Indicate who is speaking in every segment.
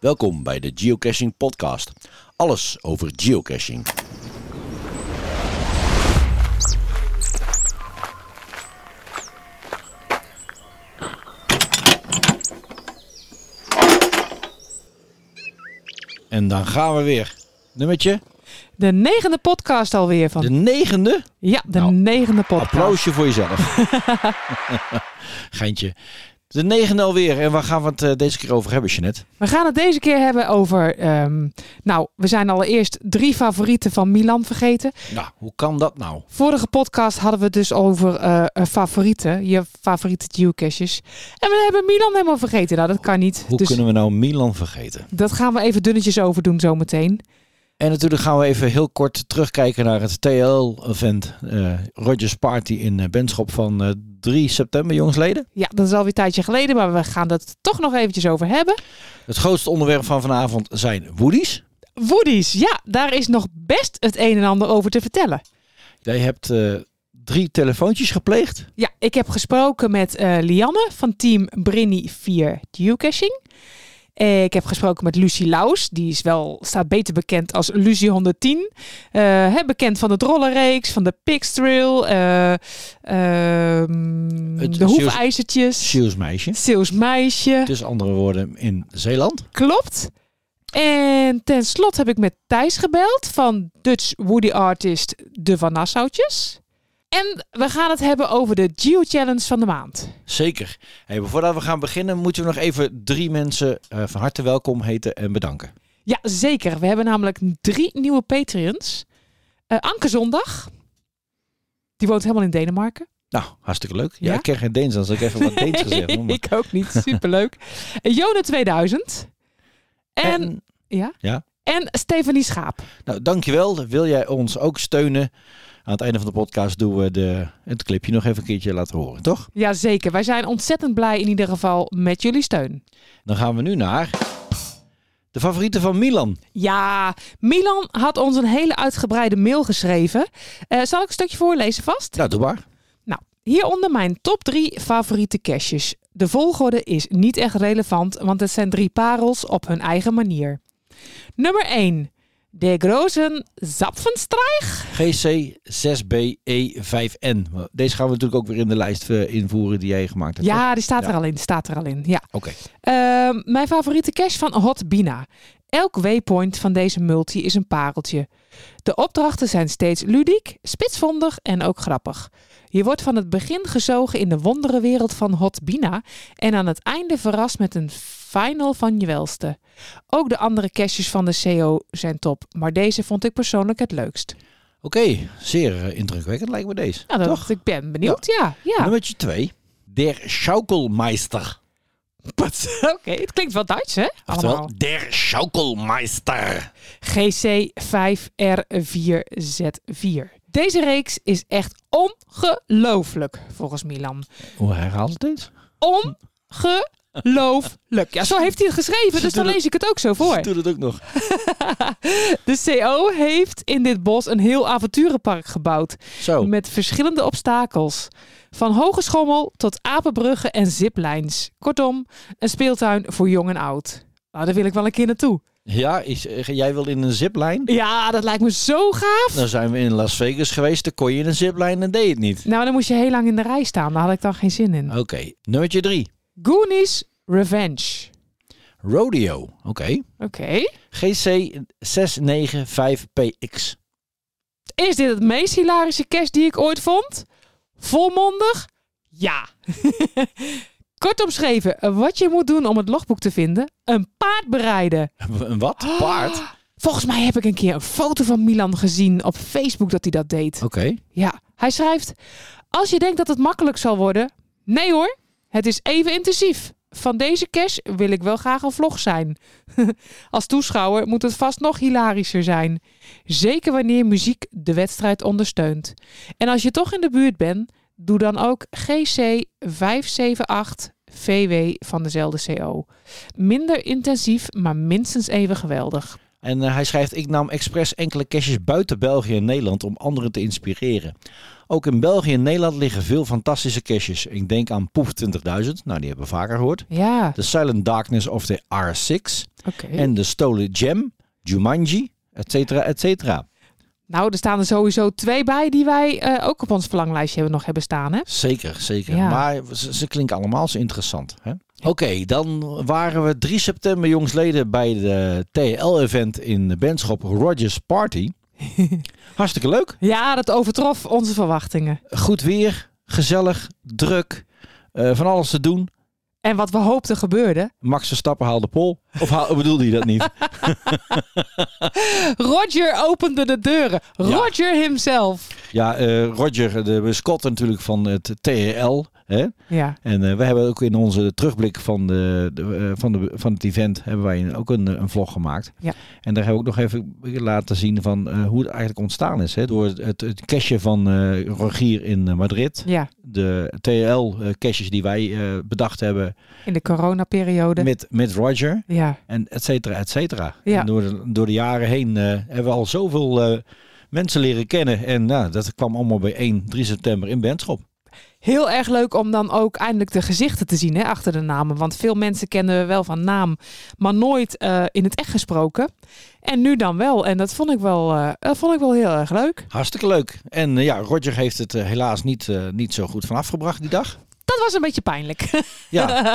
Speaker 1: Welkom bij de Geocaching Podcast. Alles over geocaching. En dan gaan we weer. Nummertje?
Speaker 2: De negende podcast alweer van.
Speaker 1: De negende?
Speaker 2: ja, de
Speaker 1: Nou,
Speaker 2: negende podcast.
Speaker 1: Applausje voor jezelf. Geintje. De negende alweer. En waar gaan we het eh, deze keer over hebben, Jeanette?
Speaker 2: We gaan het deze keer hebben over. ehm, nou, we zijn allereerst drie favorieten van Milan vergeten.
Speaker 1: Nou, hoe kan dat nou?
Speaker 2: Vorige podcast hadden we het dus over eh, eh, favorieten. Je favoriete geocaches. En we hebben Milan helemaal vergeten. Nou, dat kan niet.
Speaker 1: Hoe
Speaker 2: dus
Speaker 1: kunnen we nou Milan vergeten?
Speaker 2: dat gaan we even dunnetjes overdoen zometeen.
Speaker 1: En natuurlijk gaan we even heel kort terugkijken naar het TL-event eh, Rogers Party in eh, Benschop van eh, 3 september, jongsleden.
Speaker 2: Ja, dat is alweer een tijdje geleden. Maar we gaan dat toch nog eventjes over hebben.
Speaker 1: Het grootste onderwerp van vanavond zijn woodies.
Speaker 2: Woodies. Ja, daar is nog best het een en ander over te vertellen.
Speaker 1: Jij hebt eh, drie telefoontjes gepleegd.
Speaker 2: Ja, ik heb gesproken met eh, Lianne van team Brinny 4 Geocaching. Eh, ik heb gesproken met Lucie Laus, die is wel, staat beter bekend als Lucie 110. Eh, hè, bekend van de Drollenreeks, van de Pixtrail, eh ehm,
Speaker 1: Het
Speaker 2: de
Speaker 1: Zeeuws-
Speaker 2: Hoefijzertjes,
Speaker 1: Zeeuwsmeisje.
Speaker 2: Zeeuws Meisje.
Speaker 1: Dus andere woorden in Zeeland.
Speaker 2: Klopt. En ten slotte heb ik met Thijs gebeld van Dutch Woody Artist De Van Nassautjes. En we gaan het hebben over de Geo Challenge van de maand.
Speaker 1: Zeker. Hey, maar voordat we gaan beginnen, moeten we nog even drie mensen eh, van harte welkom heten en bedanken.
Speaker 2: Ja, zeker. We hebben namelijk drie nieuwe Patreons. Eh, Anke Zondag. Die woont helemaal in Denemarken.
Speaker 1: Nou, hartstikke leuk. Ja,
Speaker 2: Ja?
Speaker 1: ik ken geen Deens, anders had ik even wat Deens gezegd. hoor, maar-
Speaker 2: ik ook niet. Superleuk. En Jone 2000. En,
Speaker 1: En-
Speaker 2: ja?
Speaker 1: Ja?
Speaker 2: en Stefanie Schaap.
Speaker 1: Nou, dankjewel. Wil jij ons ook steunen? Aan het einde van de podcast doen we de, het clipje nog even een keertje laten horen, toch?
Speaker 2: Jazeker. Wij zijn ontzettend blij in ieder geval met jullie steun.
Speaker 1: Dan gaan we nu naar de favorieten van Milan.
Speaker 2: Ja, Milan had ons een hele uitgebreide mail geschreven. Eh, zal ik een stukje voorlezen vast?
Speaker 1: Nou, doe maar.
Speaker 2: Nou, hieronder mijn top drie favoriete caches. De volgorde is niet echt relevant, want het zijn drie parels op hun eigen manier. Nummer 1. De Grozen Zapfenstraat.
Speaker 1: GC6BE5N. E Deze gaan we natuurlijk ook weer in de lijst eh, invoeren die jij gemaakt hebt. toch?
Speaker 2: Ja, die staat
Speaker 1: Ja.
Speaker 2: er al in. die staat er al in. Ja.
Speaker 1: Oké.
Speaker 2: Ehm, mijn favoriete cache van Hot Bina. Elk waypoint van deze multi is een pareltje. De opdrachten zijn steeds ludiek, spitsvondig en ook grappig. Je wordt van het begin gezogen in de wonderenwereld van Hot Bina en aan het einde verrast met een final van je welste. Ook de andere caches van de CO zijn top, maar deze vond ik persoonlijk het leukst.
Speaker 1: Oké, zeer eh, indrukwekkend lijkt me deze.
Speaker 2: Nou, dat,
Speaker 1: toch?
Speaker 2: ik ben benieuwd. Ja, ja.
Speaker 1: Nummertje 2. Der Schaukelmeister.
Speaker 2: Oké, het klinkt wel Duits, hè? Allemaal.
Speaker 1: Oftewel, der Schaukelmeister.
Speaker 2: GC5R4Z4. Deze reeks is echt ongelooflijk, volgens Milan.
Speaker 1: Hoe herhaalt het eens? Nou,
Speaker 2: Ongelooflijk. Ja, zo heeft hij het geschreven, dus dan lees ik het ook zo voor.
Speaker 1: Doe dat ook nog.
Speaker 2: De CO heeft in dit bos een heel avonturenpark gebouwd.
Speaker 1: Zo.
Speaker 2: Met verschillende obstakels. Van hoge schommel tot apenbruggen en ziplines. Kortom, een speeltuin voor jong en oud. Nou, daar wil ik wel een keer naartoe.
Speaker 1: Ja, is, eh, jij wil in een ziplijn?
Speaker 2: Ja, dat lijkt me zo gaaf.
Speaker 1: Dan zijn we in Las Vegas geweest, dan kon je in een ziplijn en deed het niet.
Speaker 2: Nou, dan moest je heel lang in de rij staan. Daar had ik dan geen zin in.
Speaker 1: Oké, nummertje drie.
Speaker 2: Goonies Revenge.
Speaker 1: Rodeo. Oké.
Speaker 2: Oké.
Speaker 1: GC695PX.
Speaker 2: Is dit het meest hilarische cash die ik ooit vond? Volmondig? Ja. Kort omschreven, wat je moet doen om het logboek te vinden. Een paard bereiden.
Speaker 1: Een wat?
Speaker 2: Ah.
Speaker 1: Paard? Oké.
Speaker 2: Volgens mij heb ik een keer een foto van Milan gezien op Facebook dat hij dat deed. Ja, hij schrijft... Als je denkt dat het makkelijk zal worden... Nee hoor, het is even intensief. Van deze cash wil ik wel graag een vlog zijn. Als toeschouwer moet het vast nog hilarischer zijn. Zeker wanneer muziek de wedstrijd ondersteunt. En als je toch in de buurt bent, doe dan ook GC578VW van dezelfde CO. Minder intensief, maar minstens even geweldig.
Speaker 1: En eh, hij schrijft: Ik nam expres enkele caches buiten België en Nederland om anderen te inspireren. Ook in België en Nederland liggen veel fantastische caches. Ik denk aan Poef 20.000, nou die hebben we vaker gehoord.
Speaker 2: Ja,
Speaker 1: The Silent Darkness of the R6
Speaker 2: oké.
Speaker 1: en The Stolen Gem, Jumanji, et cetera, et cetera.
Speaker 2: Nou, er staan er sowieso twee bij die wij eh, ook op ons verlanglijstje hebben, nog hebben staan. Hè?
Speaker 1: Zeker, zeker.
Speaker 2: Ja.
Speaker 1: Maar ze, ze klinken allemaal zo interessant. Hè? Oké, dan waren we 3 september jongsleden bij de TL-event in de Benschop Rogers Party. Hartstikke leuk.
Speaker 2: Ja, dat overtrof onze verwachtingen.
Speaker 1: Goed weer, gezellig, druk, eh, van alles te doen.
Speaker 2: En wat we hoopten gebeurde.
Speaker 1: Max Verstappen haalde pol. Of haal, bedoelde hij dat niet?
Speaker 2: Roger opende de deuren. Roger himself.
Speaker 1: Ja, eh, Roger, de Scott natuurlijk van het TL. Hè?
Speaker 2: Ja.
Speaker 1: En eh, we hebben ook in onze terugblik van, de, de, eh, van, de, van het event hebben wij een- ook een, eh, een vlog gemaakt.
Speaker 2: Ja.
Speaker 1: En daar hebben we ook nog even laten zien van eh, hoe het eigenlijk ontstaan is. Hè? Door het, het cache van eh Rogier in eh, Madrid.
Speaker 2: ja,
Speaker 1: De TL-caches die wij eh, bedacht hebben
Speaker 2: in de coronaperiode.
Speaker 1: met, met Roger.
Speaker 2: Ja.
Speaker 1: En et cetera, et cetera.
Speaker 2: Ja.
Speaker 1: En door, de, door de jaren heen eh, hebben we al zoveel eh, mensen leren kennen. En nou, dat kwam allemaal bij 1, 3 september in Benschop.
Speaker 2: Heel erg leuk om dan ook eindelijk de gezichten te zien hè, achter de namen. Want veel mensen kennen we wel van naam, maar nooit eh, in het echt gesproken. En nu dan wel. En dat vond ik wel, eh, dat vond ik wel heel erg leuk.
Speaker 1: Hartstikke leuk. En eh, ja, Roger heeft het eh, helaas niet, eh, niet zo goed van afgebracht die dag.
Speaker 2: Dat was een beetje pijnlijk.
Speaker 1: Ja,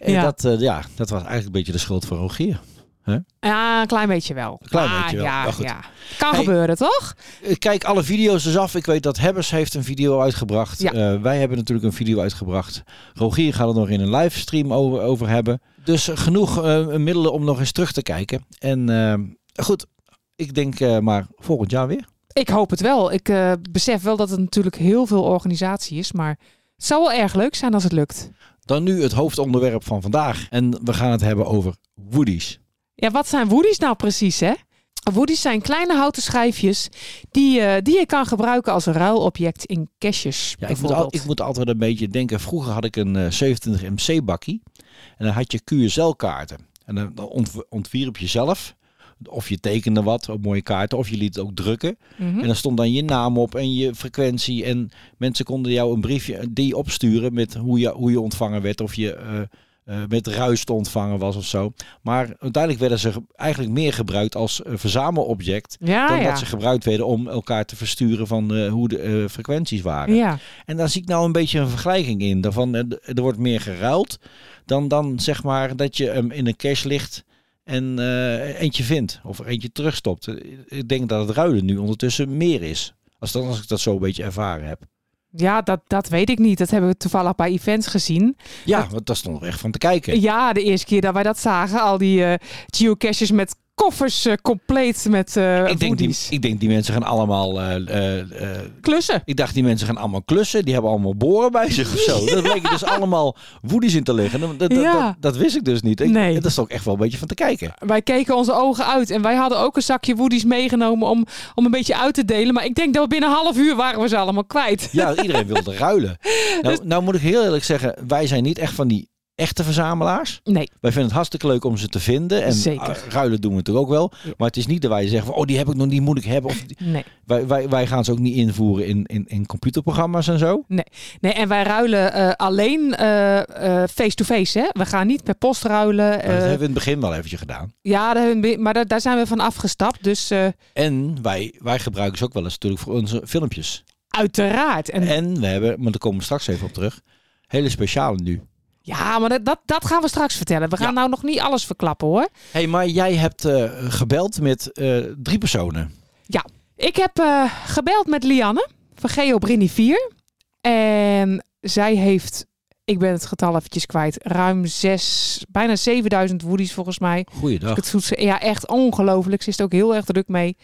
Speaker 1: en
Speaker 2: Ja.
Speaker 1: Dat, eh, ja, dat was eigenlijk een beetje de schuld van Rogier.
Speaker 2: ja, een klein beetje wel.
Speaker 1: Een klein
Speaker 2: Ah,
Speaker 1: beetje wel,
Speaker 2: Ja,
Speaker 1: maar goed.
Speaker 2: ja. Kan
Speaker 1: Hey.
Speaker 2: gebeuren, toch?
Speaker 1: Ik Eh, kijk alle video's dus af. Ik weet dat Hebbers heeft een video uitgebracht.
Speaker 2: Ja.
Speaker 1: Eh, wij hebben natuurlijk een video uitgebracht. Rogier gaat het nog in een livestream over, over hebben. Dus genoeg eh, middelen om nog eens terug te kijken. En eh, goed, ik denk eh, maar volgend jaar weer.
Speaker 2: Ik hoop het wel. Ik eh, besef wel dat het natuurlijk heel veel organisatie is. Maar het zou wel erg leuk zijn als het lukt.
Speaker 1: Dan nu het hoofdonderwerp van vandaag. En we gaan het hebben over woodies.
Speaker 2: Ja, wat zijn woodies nou precies, hè? Woodies zijn kleine houten schijfjes die, eh, die je kan gebruiken als ruilobject in caches,
Speaker 1: Ja, ik, moet al,
Speaker 2: bijvoorbeeld.
Speaker 1: ik moet altijd een beetje denken. Vroeger had ik een eh, 27 MC bakkie. En dan had je QSL-kaarten. En dan dan ont- ontwierp je zelf. Of je tekende wat op mooie kaarten. Of je liet het ook drukken.
Speaker 2: Mhm.
Speaker 1: En dan stond dan je naam op en je frequentie. En mensen konden jou een briefje eh, die opsturen met hoe je, hoe je ontvangen werd. Of je eh, eh, met ruis te ontvangen was of zo. Maar uiteindelijk werden ze ge- eigenlijk meer gebruikt als eh, verzamelobject.
Speaker 2: Ja,
Speaker 1: dan
Speaker 2: Ah, ja.
Speaker 1: dat ze gebruikt werden om elkaar te versturen van eh, hoe de eh, frequenties waren.
Speaker 2: ja.
Speaker 1: En daar zie ik nou een beetje een vergelijking in. Daarvan, eh, d- er wordt meer geruild dan, dan zeg maar dat je hem in een cache ligt en eh, eentje vindt of er eentje terugstopt. Eh, Ik denk dat het ruilen nu ondertussen meer is. Als, dan, als ik dat zo een beetje ervaren heb.
Speaker 2: Ja, dat, dat weet ik niet. Dat hebben we toevallig bij events gezien.
Speaker 1: Ja, want daar stond er echt van te kijken.
Speaker 2: Ja, de eerste keer dat wij dat zagen, al die eh, geocaches met koffers eh, compleet met eh
Speaker 1: Ik denk, die,
Speaker 2: woodies.
Speaker 1: ik denk die mensen gaan allemaal... eh, eh, eh,
Speaker 2: Klussen.
Speaker 1: ik dacht die mensen gaan allemaal klussen. Die hebben allemaal boren bij zich of zo. Dat bleken dus allemaal woedies in te liggen. Dat, dat,
Speaker 2: Ja.
Speaker 1: dat, dat wist ik dus niet. Ik,
Speaker 2: Nee.
Speaker 1: Daar stond ik echt wel een beetje van te kijken.
Speaker 2: Wij keken onze ogen uit en wij hadden ook een zakje woodies meegenomen om, om een beetje uit te delen. Maar ik denk dat we binnen een half uur waren we ze allemaal kwijt.
Speaker 1: Ja, iedereen wilde ruilen.
Speaker 2: Dus-
Speaker 1: Nou, nou moet ik heel eerlijk zeggen, wij zijn niet echt van die echte verzamelaars.
Speaker 2: Nee,
Speaker 1: Wij vinden het hartstikke leuk om ze te vinden. En
Speaker 2: Zeker.
Speaker 1: ah, ruilen doen we natuurlijk ook wel.
Speaker 2: Ja.
Speaker 1: Maar het is niet dat wij zeggen, van, oh die heb ik nog, die moet ik hebben. Of, die-
Speaker 2: nee.
Speaker 1: wij, wij, wij gaan ze ook niet invoeren in, in, in computerprogramma's en zo.
Speaker 2: Nee, en wij ruilen eh, alleen eh, eh, face-to-face. hè? we gaan niet per post ruilen.
Speaker 1: Maar dat
Speaker 2: eh,
Speaker 1: hebben we in het begin wel eventjes gedaan.
Speaker 2: Ja, daar hebben we- maar daar, daar zijn we van afgestapt. Dus eh,
Speaker 1: En wij, wij gebruiken ze ook wel eens natuurlijk voor onze filmpjes.
Speaker 2: uiteraard. En,
Speaker 1: En we hebben, maar daar komen we straks even op terug, hele speciale nu.
Speaker 2: ja, maar dat, dat, dat gaan we straks vertellen. We gaan
Speaker 1: Ja.
Speaker 2: nou nog niet alles verklappen hoor.
Speaker 1: hey, maar jij hebt eh, gebeld met eh, drie personen.
Speaker 2: Ik heb eh, gebeld met Lianne van Geo Brini 4. En zij heeft, ik ben het getal eventjes kwijt, ruim zes, bijna 7000 woedies volgens mij.
Speaker 1: Goeiedag.
Speaker 2: Het zoet ze- ja, echt ongelooflijk. Ze is er ook heel erg druk mee.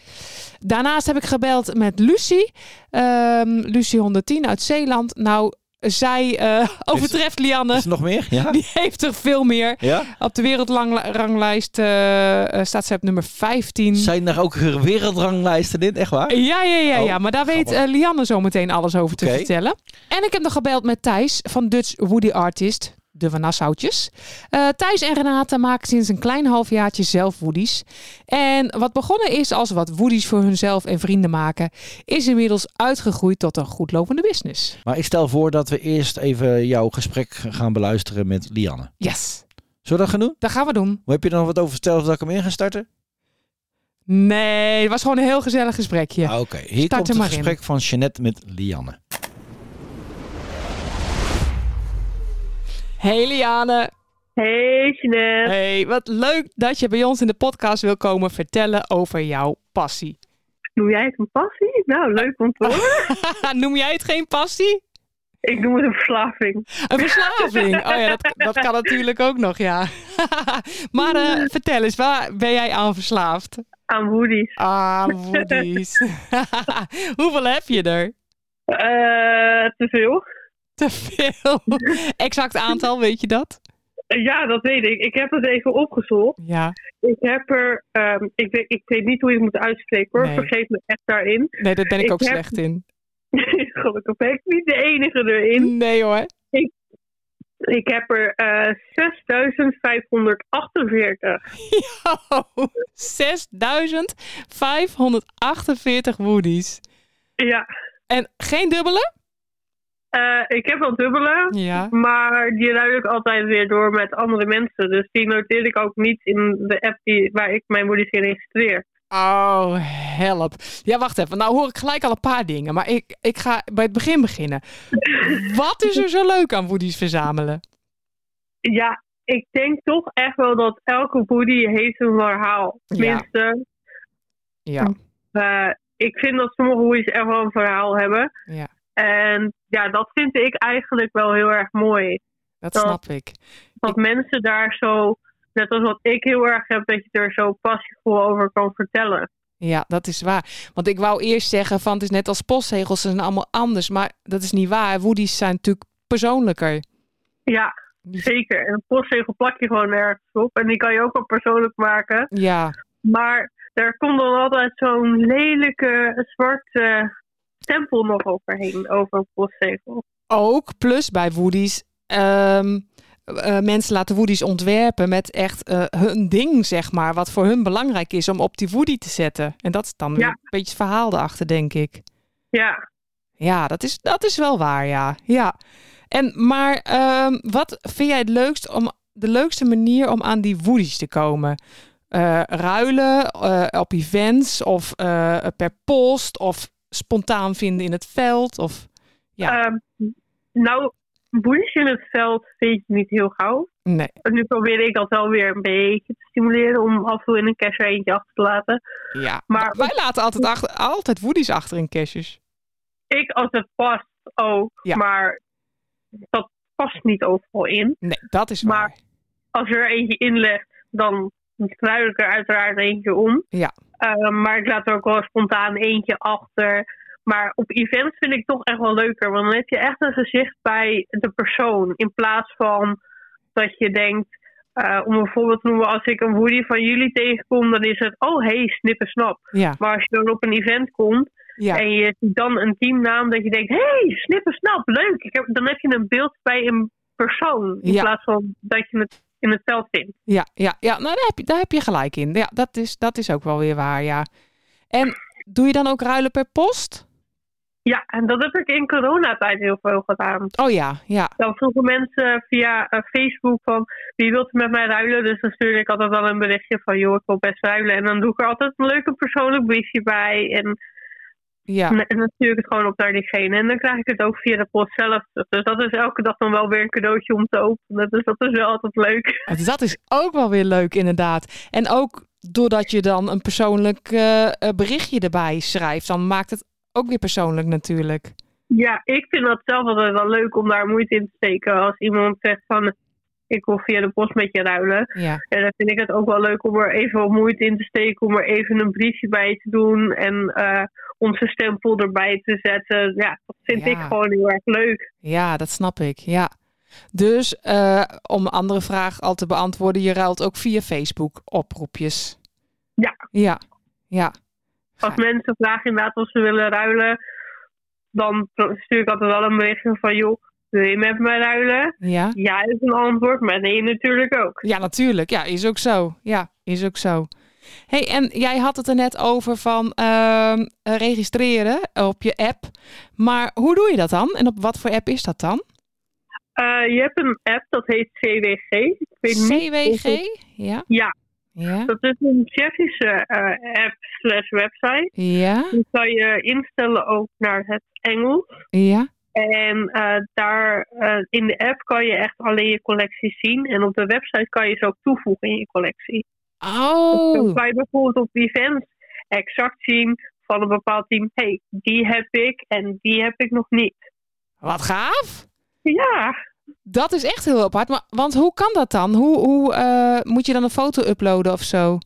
Speaker 2: Daarnaast heb ik gebeld met Lucie. Ehm Lucie 110 uit Zeeland. Nou, zij eh, overtreft Lianne.
Speaker 1: Is er nog meer? Ja?
Speaker 2: Die heeft er veel meer.
Speaker 1: ja?
Speaker 2: Op de wereldranglijst eh, eh, staat ze op nummer 15.
Speaker 1: Zijn er ook wereldranglijsten in, echt waar?
Speaker 2: Ja, ja, ja,
Speaker 1: Oh,
Speaker 2: ja. Maar daar weet
Speaker 1: grappig.
Speaker 2: eh, Lianne zo meteen alles over te
Speaker 1: Oké.
Speaker 2: vertellen. En ik heb nog gebeld met Thijs van Dutch Woody Artist. de Van Nassautjes. Eh, Thijs en Renate maken sinds een klein halfjaartje zelf woodies. En wat begonnen is als wat woodies voor hunzelf en vrienden maken, is inmiddels uitgegroeid tot een goedlopende business.
Speaker 1: Maar ik stel voor dat we eerst even jouw gesprek gaan beluisteren met Lianne.
Speaker 2: Yes,
Speaker 1: Zullen we dat gaan doen?
Speaker 2: dat gaan we doen.
Speaker 1: Heb je er nog wat over verteld dat ik hem in ga starten?
Speaker 2: Nee, het was gewoon een heel gezellig gesprekje.
Speaker 1: Ah, Oké, hier
Speaker 2: Start
Speaker 1: komt
Speaker 2: er
Speaker 1: het
Speaker 2: maar in.
Speaker 1: gesprek van Jeannette met Lianne.
Speaker 2: Hey Liane.
Speaker 3: Hey Jeanette.
Speaker 2: Hey, wat leuk dat je bij ons in de podcast wil komen vertellen over jouw passie.
Speaker 3: Noem jij het een passie? Nou, leuk om te
Speaker 2: Ah.
Speaker 3: horen.
Speaker 2: Nou, Noem jij het geen passie?
Speaker 3: Ik noem het een verslaving.
Speaker 2: Een verslaving. Oh ja, dat, dat kan natuurlijk ook nog, ja. maar eh, vertel eens, waar ben jij aan verslaafd?
Speaker 3: Aan hoodies.
Speaker 2: Ah, woedies. Hoeveel heb je er?
Speaker 3: Eh, te veel?
Speaker 2: Te veel. Exact aantal, weet je dat?
Speaker 3: Eh, Ja, dat weet ik. Ik heb het even opgezocht.
Speaker 2: Ja.
Speaker 3: Ik heb er... ehm, ik, weet, ik weet niet hoe je het moet uitspreken hoor.
Speaker 2: Nee.
Speaker 3: Vergeet me echt daarin.
Speaker 2: Nee, daar ben ik,
Speaker 3: Ik
Speaker 2: ook
Speaker 3: heb-
Speaker 2: slecht in.
Speaker 3: Gelukkig ben ik niet de enige erin.
Speaker 2: Nee hoor.
Speaker 3: Ik heb er eh 6548.
Speaker 2: Oh, 6548 woedies.
Speaker 3: Ja,
Speaker 2: En geen dubbele?
Speaker 3: eh, ik heb wel dubbele.
Speaker 2: Ja.
Speaker 3: Maar die ruil ik altijd weer door met andere mensen. Dus die noteer ik ook niet in de app die, waar ik mijn moeders in registreer.
Speaker 2: Oh, help. Ja, wacht even. Nou hoor ik gelijk al een paar dingen. Maar ik, ik ga bij het begin beginnen. Wat is er zo leuk aan woedies verzamelen?
Speaker 3: Ja, ik denk toch echt wel dat elke boody heeft een verhaal.
Speaker 2: Ja.
Speaker 3: Tenminste,
Speaker 2: Ja.
Speaker 3: eh, ik vind dat sommige boodies echt wel een verhaal hebben.
Speaker 2: Ja.
Speaker 3: En ja, dat vind ik eigenlijk wel heel erg mooi.
Speaker 2: Dat
Speaker 3: Ja.
Speaker 2: snap ik.
Speaker 3: Dat mensen daar zo, net als wat ik heel erg heb, dat je er zo passievol over kan vertellen.
Speaker 2: Ja, dat is waar. Want ik wou eerst zeggen van het is net als postzegels, ze zijn allemaal anders. Maar dat is niet waar. Woedies zijn natuurlijk persoonlijker.
Speaker 3: Ja,
Speaker 2: Dus-
Speaker 3: zeker. En een postzegel plak je gewoon ergens op. En die kan je ook wel persoonlijk maken.
Speaker 2: Ja,
Speaker 3: Maar er komt dan altijd zo'n lelijke zwarte stempel nog overheen, over een postzegel.
Speaker 2: ook plus bij woedies. ehm, eh, mensen laten woedies ontwerpen met echt eh, hun ding, zeg maar. Wat voor hun belangrijk is om op die woody te zetten. En dat is dan weer
Speaker 3: Ja.
Speaker 2: een beetje het verhaal erachter, denk ik.
Speaker 3: Ja,
Speaker 2: Ja, dat is, dat is wel waar, ja. ja. En, maar ehm, wat vind jij het leukst om, de leukste manier om aan die woedies te komen? Eh, ruilen eh, op events of eh, per post of spontaan vinden in het veld? Of... Ja.
Speaker 3: ehm, nou, boeien in het veld vind je niet heel gauw.
Speaker 2: Nee,
Speaker 3: En nu probeer ik dat wel weer een beetje te stimuleren om af en toe in een cash eentje achter te laten.
Speaker 2: ja.
Speaker 3: Maar-
Speaker 2: Wij laten altijd, achter, altijd woedies achter in kerstjes.
Speaker 3: Ik, als het past, ook.
Speaker 2: Ja.
Speaker 3: Maar dat past niet overal in.
Speaker 2: Nee, dat is waar.
Speaker 3: Maar- Als je er eentje inlegt, dan kruid ik er uiteraard eentje om.
Speaker 2: Ja.
Speaker 3: Eh, maar ik laat er ook wel spontaan eentje achter. Maar op events vind ik toch echt wel leuker. Want dan heb je echt een gezicht bij de persoon. In plaats van dat je denkt, eh, om een voorbeeld te noemen, als ik een woody van jullie tegenkom, dan is het, oh hey, snip en snap.
Speaker 2: Ja,
Speaker 3: Maar als je dan op een event komt
Speaker 2: ja,
Speaker 3: en je ziet dan een teamnaam, dat je denkt, hey, snip en snap, leuk. Ik heb, dan heb je een beeld bij een persoon. In
Speaker 2: Ja.
Speaker 3: plaats van dat je het in het veld vindt.
Speaker 2: ja, ja, ja. Nou, daar heb, je, daar heb je gelijk in. Ja, dat is, dat is ook wel weer waar, ja. En doe je dan ook ruilen per post?
Speaker 3: Ja, en dat heb ik in coronatijd heel veel gedaan.
Speaker 2: Oh ja, ja.
Speaker 3: Dan vroegen mensen via eh, Facebook van wie wilt er met mij ruilen? Dus dan stuurde ik altijd wel een berichtje van joh, ik wil best ruilen. En dan doe ik er altijd een leuke persoonlijk briefje bij. En,
Speaker 2: Ja,
Speaker 3: en dan stuur ik het gewoon op naar diegene. En dan krijg ik het ook via de post zelf. terug. Dus dat is elke dag dan wel weer een cadeautje om te openen. Dus dat is wel altijd leuk.
Speaker 2: dus dat is ook wel weer leuk inderdaad. En ook doordat je dan een persoonlijk eh, eh, berichtje erbij schrijft, dan maakt het ook weer persoonlijk natuurlijk.
Speaker 3: Ja, ik vind dat zelf altijd wel leuk om daar moeite in te steken. Als iemand zegt van ik wil via de post met je ruilen.
Speaker 2: Ja,
Speaker 3: En dan vind ik het ook wel leuk om er even wat moeite in te steken, om er even een briefje bij te doen en eh, onze stempel erbij te zetten. Ja, dat vind
Speaker 2: Ja.
Speaker 3: ik gewoon heel erg leuk.
Speaker 2: ja dat snap ik. Ja. Dus eh, om een andere vraag al te beantwoorden, je ruilt ook via Facebook oproepjes.
Speaker 3: Ja.
Speaker 2: Ja, ja.
Speaker 3: Als mensen vragen inderdaad of ze willen ruilen, dan stuur ik altijd wel een berichtje van joh, wil je met me ruilen?
Speaker 2: Ja.
Speaker 3: Ja is een antwoord, maar nee natuurlijk ook.
Speaker 2: Ja, natuurlijk. Ja, is ook zo. Ja, is ook zo. hey, en jij had het er net over van ehm, registreren op je app. Maar hoe doe je dat dan? En op wat voor app is dat dan?
Speaker 3: Eh, je hebt een app, dat heet CWG. Ik weet niet of
Speaker 2: CWG?
Speaker 3: het-
Speaker 2: Ja.
Speaker 3: Ja,
Speaker 2: Ja.
Speaker 3: dat is een Tsjechische eh, app slash website.
Speaker 2: Ja.
Speaker 3: Die kan je instellen ook naar het Engels.
Speaker 2: Ja.
Speaker 3: En eh, daar eh, in de app kan je echt alleen je collectie zien. En op de website kan je ze ook toevoegen in je collectie. Dus dan
Speaker 2: Oh.
Speaker 3: kan je bijvoorbeeld op events exact zien van een bepaald team. Hé, hey, die heb ik en die heb ik nog niet.
Speaker 2: Wat gaaf.
Speaker 3: Ja,
Speaker 2: Dat is echt heel apart. Maar, want hoe kan dat dan? Hoe, hoe eh, moet je dan een foto uploaden of zo?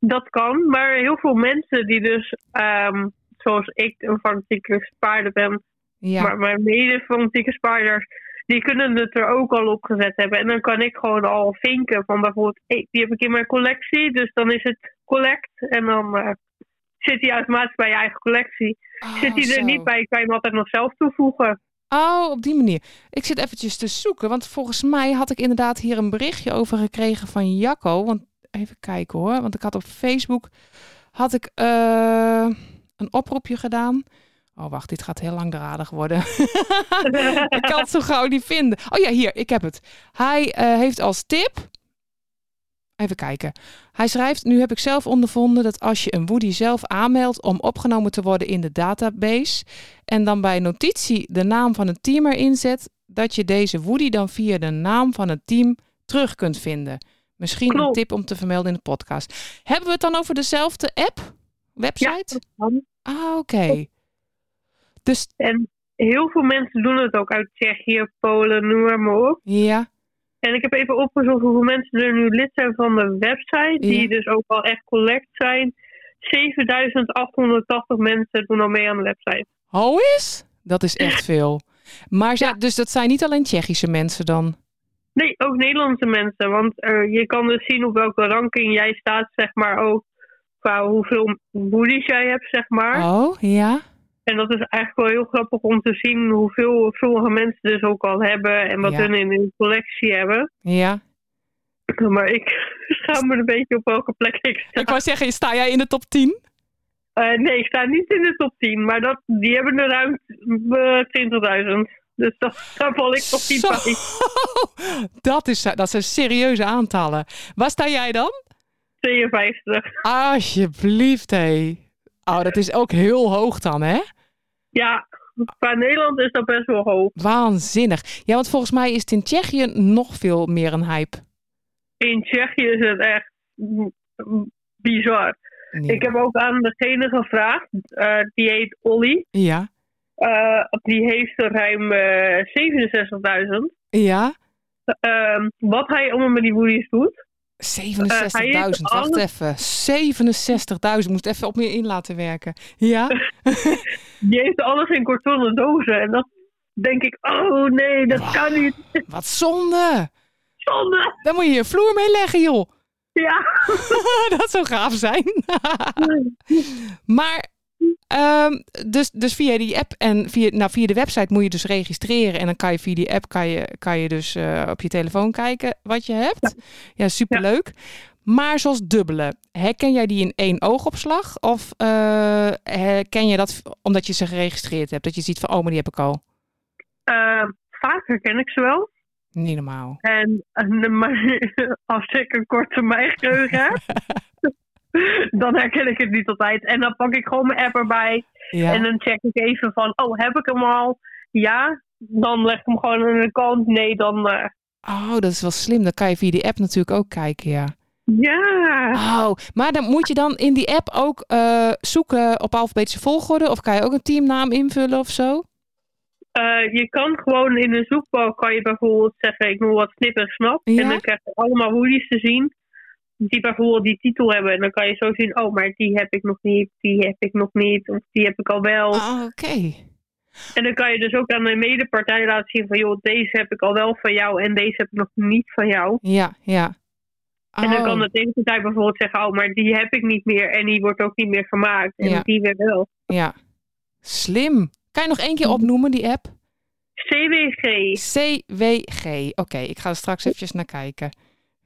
Speaker 3: dat kan. Maar heel veel mensen die dus, ehm, zoals ik, een fanatieke spaarder ben.
Speaker 2: Ja.
Speaker 3: Maar mijn mede fanatieke spaarders, die kunnen het er ook al op gezet hebben. En dan kan ik gewoon al vinken van bijvoorbeeld, hey, die heb ik in mijn collectie. Dus dan is het collect. En dan eh, zit die automatisch bij je eigen collectie.
Speaker 2: Oh,
Speaker 3: Zit die er
Speaker 2: zo.
Speaker 3: niet bij, kan je hem altijd nog zelf toevoegen.
Speaker 2: Oh, op die manier. Ik zit eventjes te zoeken, want volgens mij had ik inderdaad hier een berichtje over gekregen van Jacco. Want even kijken hoor, want ik had op Facebook had ik eh, een oproepje gedaan. Oh wacht, dit gaat heel langdradig worden. ik kan het zo gauw niet vinden. Oh ja, hier, ik heb het. Hij eh, heeft als tip. Even kijken. Hij schrijft: Nu heb ik zelf ondervonden dat als je een Woody zelf aanmeldt om opgenomen te worden in de database, en dan bij notitie de naam van het team erin zet, dat je deze Woody dan via de naam van het team terug kunt vinden. Misschien een
Speaker 3: Klopt.
Speaker 2: tip om te vermelden in de podcast. Hebben we het dan over dezelfde app? Website?
Speaker 3: kan.
Speaker 2: Ah, oké. Dus
Speaker 3: En heel veel mensen doen het ook uit Tsjechië, Polen, noem maar, maar op.
Speaker 2: ja,
Speaker 3: En ik heb even opgezocht hoeveel mensen er nu lid zijn van de website, die
Speaker 2: Ja.
Speaker 3: dus ook al echt collect zijn. 7880 mensen doen al mee aan de website.
Speaker 2: ho is? Dat is echt veel. Maar ja, dus dat zijn niet alleen Tsjechische mensen dan.
Speaker 3: Nee, ook Nederlandse mensen. Want eh, je kan dus zien op welke ranking jij staat, zeg maar ook qua hoeveel boelies jij hebt, zeg maar.
Speaker 2: Oh, ja.
Speaker 3: En dat is eigenlijk wel heel grappig om te zien hoeveel sommige mensen dus ook al hebben en wat
Speaker 2: Ja.
Speaker 3: hun in hun collectie hebben.
Speaker 2: Ja.
Speaker 3: Maar ik schaam me een beetje op welke plek ik sta.
Speaker 2: Ik wou zeggen, sta jij in de top 10?
Speaker 3: Eh, nee, ik sta niet in de top 10, maar dat, die hebben er ruim eh, 20.000. Dus dat, daar val ik nog niet
Speaker 2: Zo.
Speaker 3: bij.
Speaker 2: Dat, is, dat zijn serieuze aantallen. Waar sta jij dan?
Speaker 3: 52.
Speaker 2: Alsjeblieft, hé. Oh, dat is ook heel hoog dan, hè?
Speaker 3: Ja, qua Nederland is dat best wel hoog.
Speaker 2: Waanzinnig. Ja, want volgens mij is het in Tsjechië nog veel meer een hype.
Speaker 3: In Tsjechië is het echt mm, mm, bizar.
Speaker 2: Nee.
Speaker 3: Ik heb ook aan degene gevraagd, eh, die heet Olly.
Speaker 2: Ja.
Speaker 3: Eh, die heeft er ruim eh, 67.000. Eh,
Speaker 2: Ja.
Speaker 3: Ehm, wat hij allemaal met die woelies doet.
Speaker 2: 67.000,
Speaker 3: Eh, hij heeft
Speaker 2: wacht
Speaker 3: alles-
Speaker 2: even. 67.000, moest even op me in laten werken. Ja,
Speaker 3: Die heeft alles in kartonnen dozen. En dan denk ik, oh nee, dat kan niet.
Speaker 2: wat zonde.
Speaker 3: Zonde!
Speaker 2: Daar moet je je vloer mee leggen, joh.
Speaker 3: Ja.
Speaker 2: Dat zou gaaf zijn. maar, ehm, dus, dus via die app en via, nou, via de website moet je dus registreren. En dan kan je via die app kan je, kan je dus eh, op je telefoon kijken wat je hebt. Ja, superleuk. Maar zoals dubbelen, herken jij die in één oogopslag? Of eh, herken je dat v- omdat je ze geregistreerd hebt? Dat je ziet van, oh, maar die heb ik al.
Speaker 3: Eh, vaak herken ik ze wel.
Speaker 2: Niet normaal.
Speaker 3: En, en- maar als ik een korte meigeheugen heb, dan herken ik het niet altijd. En dan pak ik gewoon mijn app erbij.
Speaker 2: Ja.
Speaker 3: En dan check ik even van, oh, heb ik hem al? Ja. Dan leg ik hem gewoon aan de kant. Nee, dan... eh,
Speaker 2: Oh, dat is wel slim. Dan kan je via die app natuurlijk ook kijken, ja.
Speaker 3: ja.
Speaker 2: Oh, maar dan moet je dan in die app ook eh, zoeken op alfabetische volgorde? Of kan je ook een teamnaam invullen of zo?
Speaker 3: Eh, je kan gewoon in een zoekbalk, kan je bijvoorbeeld zeggen, ik noem wat snip en snap.
Speaker 2: Ja.
Speaker 3: En dan krijg je allemaal hoodies te zien. Die bijvoorbeeld die titel hebben. En dan kan je zo zien, oh, maar die heb ik nog niet. Die heb ik nog niet. Of die heb ik al wel.
Speaker 2: Oh, oké.
Speaker 3: En dan kan je dus ook aan de medepartij laten zien van, joh, deze heb ik al wel van jou en deze heb ik nog niet van jou.
Speaker 2: Ja, ja.
Speaker 3: En dan
Speaker 2: Oh,
Speaker 3: kan de tegenpartij bijvoorbeeld zeggen, oh, maar die heb ik niet meer en die wordt ook niet meer gemaakt. En
Speaker 2: Ja.
Speaker 3: die weer wel.
Speaker 2: Ja. Slim. Kan je nog één keer opnoemen, die app?
Speaker 3: CWG.
Speaker 2: CWG. Oké, ik ga er straks eventjes naar kijken.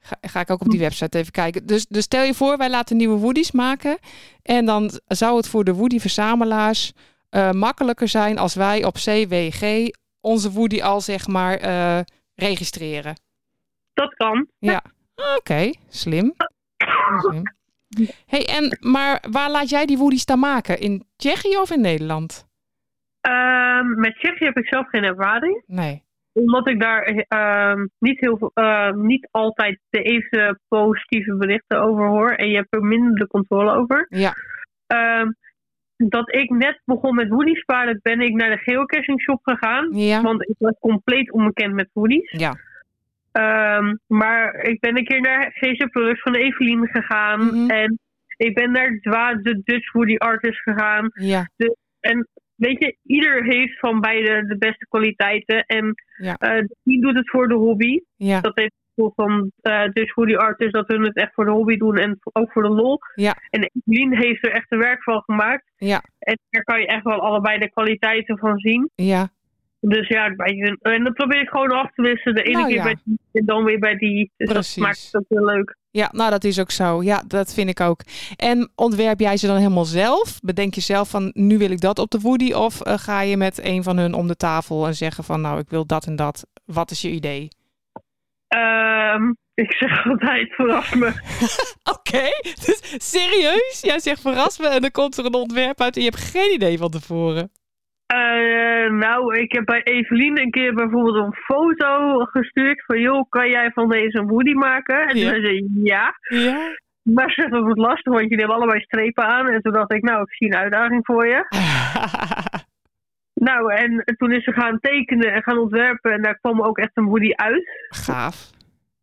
Speaker 2: Ga, ga ik ook op die website even kijken. Dus, dus stel je voor, wij laten nieuwe woodies maken. En dan zou het voor de woody-verzamelaars eh, makkelijker zijn als wij op CWG onze woody al zeg maar eh, registreren.
Speaker 3: Dat kan.
Speaker 2: Ja. Oké, slim. slim. Hey, en maar waar laat jij die woodies dan maken? In Tsjechië of in Nederland?
Speaker 3: Ehm, met Tsjechië heb ik zelf geen ervaring.
Speaker 2: Nee.
Speaker 3: Omdat ik daar ehm, niet, heel, veel- ehm, niet altijd de even positieve berichten over hoor. En je hebt er minder de controle over.
Speaker 2: Ja.
Speaker 3: Ehm, dat ik net begon met woody sparen, ben ik naar de geocaching shop gegaan.
Speaker 2: Ja.
Speaker 3: Want ik was compleet onbekend met woodies.
Speaker 2: Ja.
Speaker 3: Ehm, maar ik ben een keer naar GC Product van Evelien gegaan.
Speaker 2: Mhm.
Speaker 3: En ik ben naar Dwa, de Dutch Woody Artist gegaan.
Speaker 2: Ja.
Speaker 3: Weet je, ieder heeft van beide de beste kwaliteiten. En
Speaker 2: Ja.
Speaker 3: eh, die doet het voor de hobby.
Speaker 2: Ja.
Speaker 3: Dat heeft het gevoel van eh, Dutch Woody Artist dat hun het echt voor de hobby doen en ook voor de lol.
Speaker 2: Ja.
Speaker 3: En Evelien heeft er echt een werk van gemaakt.
Speaker 2: Ja.
Speaker 3: En daar kan je echt wel allebei de kwaliteiten van zien.
Speaker 2: Ja.
Speaker 3: Dus ja, bij hun- en dat probeer ik gewoon af te wisselen. De ene
Speaker 2: Nou
Speaker 3: keer
Speaker 2: ja.
Speaker 3: bij die en dan weer bij die. Dus
Speaker 2: Precies.
Speaker 3: dat maakt het ook heel leuk.
Speaker 2: Ja, nou dat is ook zo. Ja, dat vind ik ook. En ontwerp jij ze dan helemaal zelf? Bedenk je zelf van nu wil ik dat op de Woody? Of eh, ga je met een van hun om de tafel en zeggen van nou ik wil dat en dat. Wat is je idee?
Speaker 3: Ehm, ik zeg altijd vooraf me.
Speaker 2: Oké, dus serieus? Jij zegt verras me en dan komt er een ontwerp uit en je hebt geen idee van tevoren.
Speaker 3: Eh, nou, ik heb bij Evelien een keer bijvoorbeeld een foto gestuurd van joh, kan jij van deze een woody maken? En
Speaker 2: Ja.
Speaker 3: toen zei ze ja.
Speaker 2: Ja.
Speaker 3: Maar ze zegt dat wordt lastig, want jullie hebben allebei strepen aan. En toen dacht ik, nou, ik zie een uitdaging voor je. Nou, en toen is ze gaan tekenen en gaan ontwerpen. En daar kwam ook echt een woody uit.
Speaker 2: Gaaf.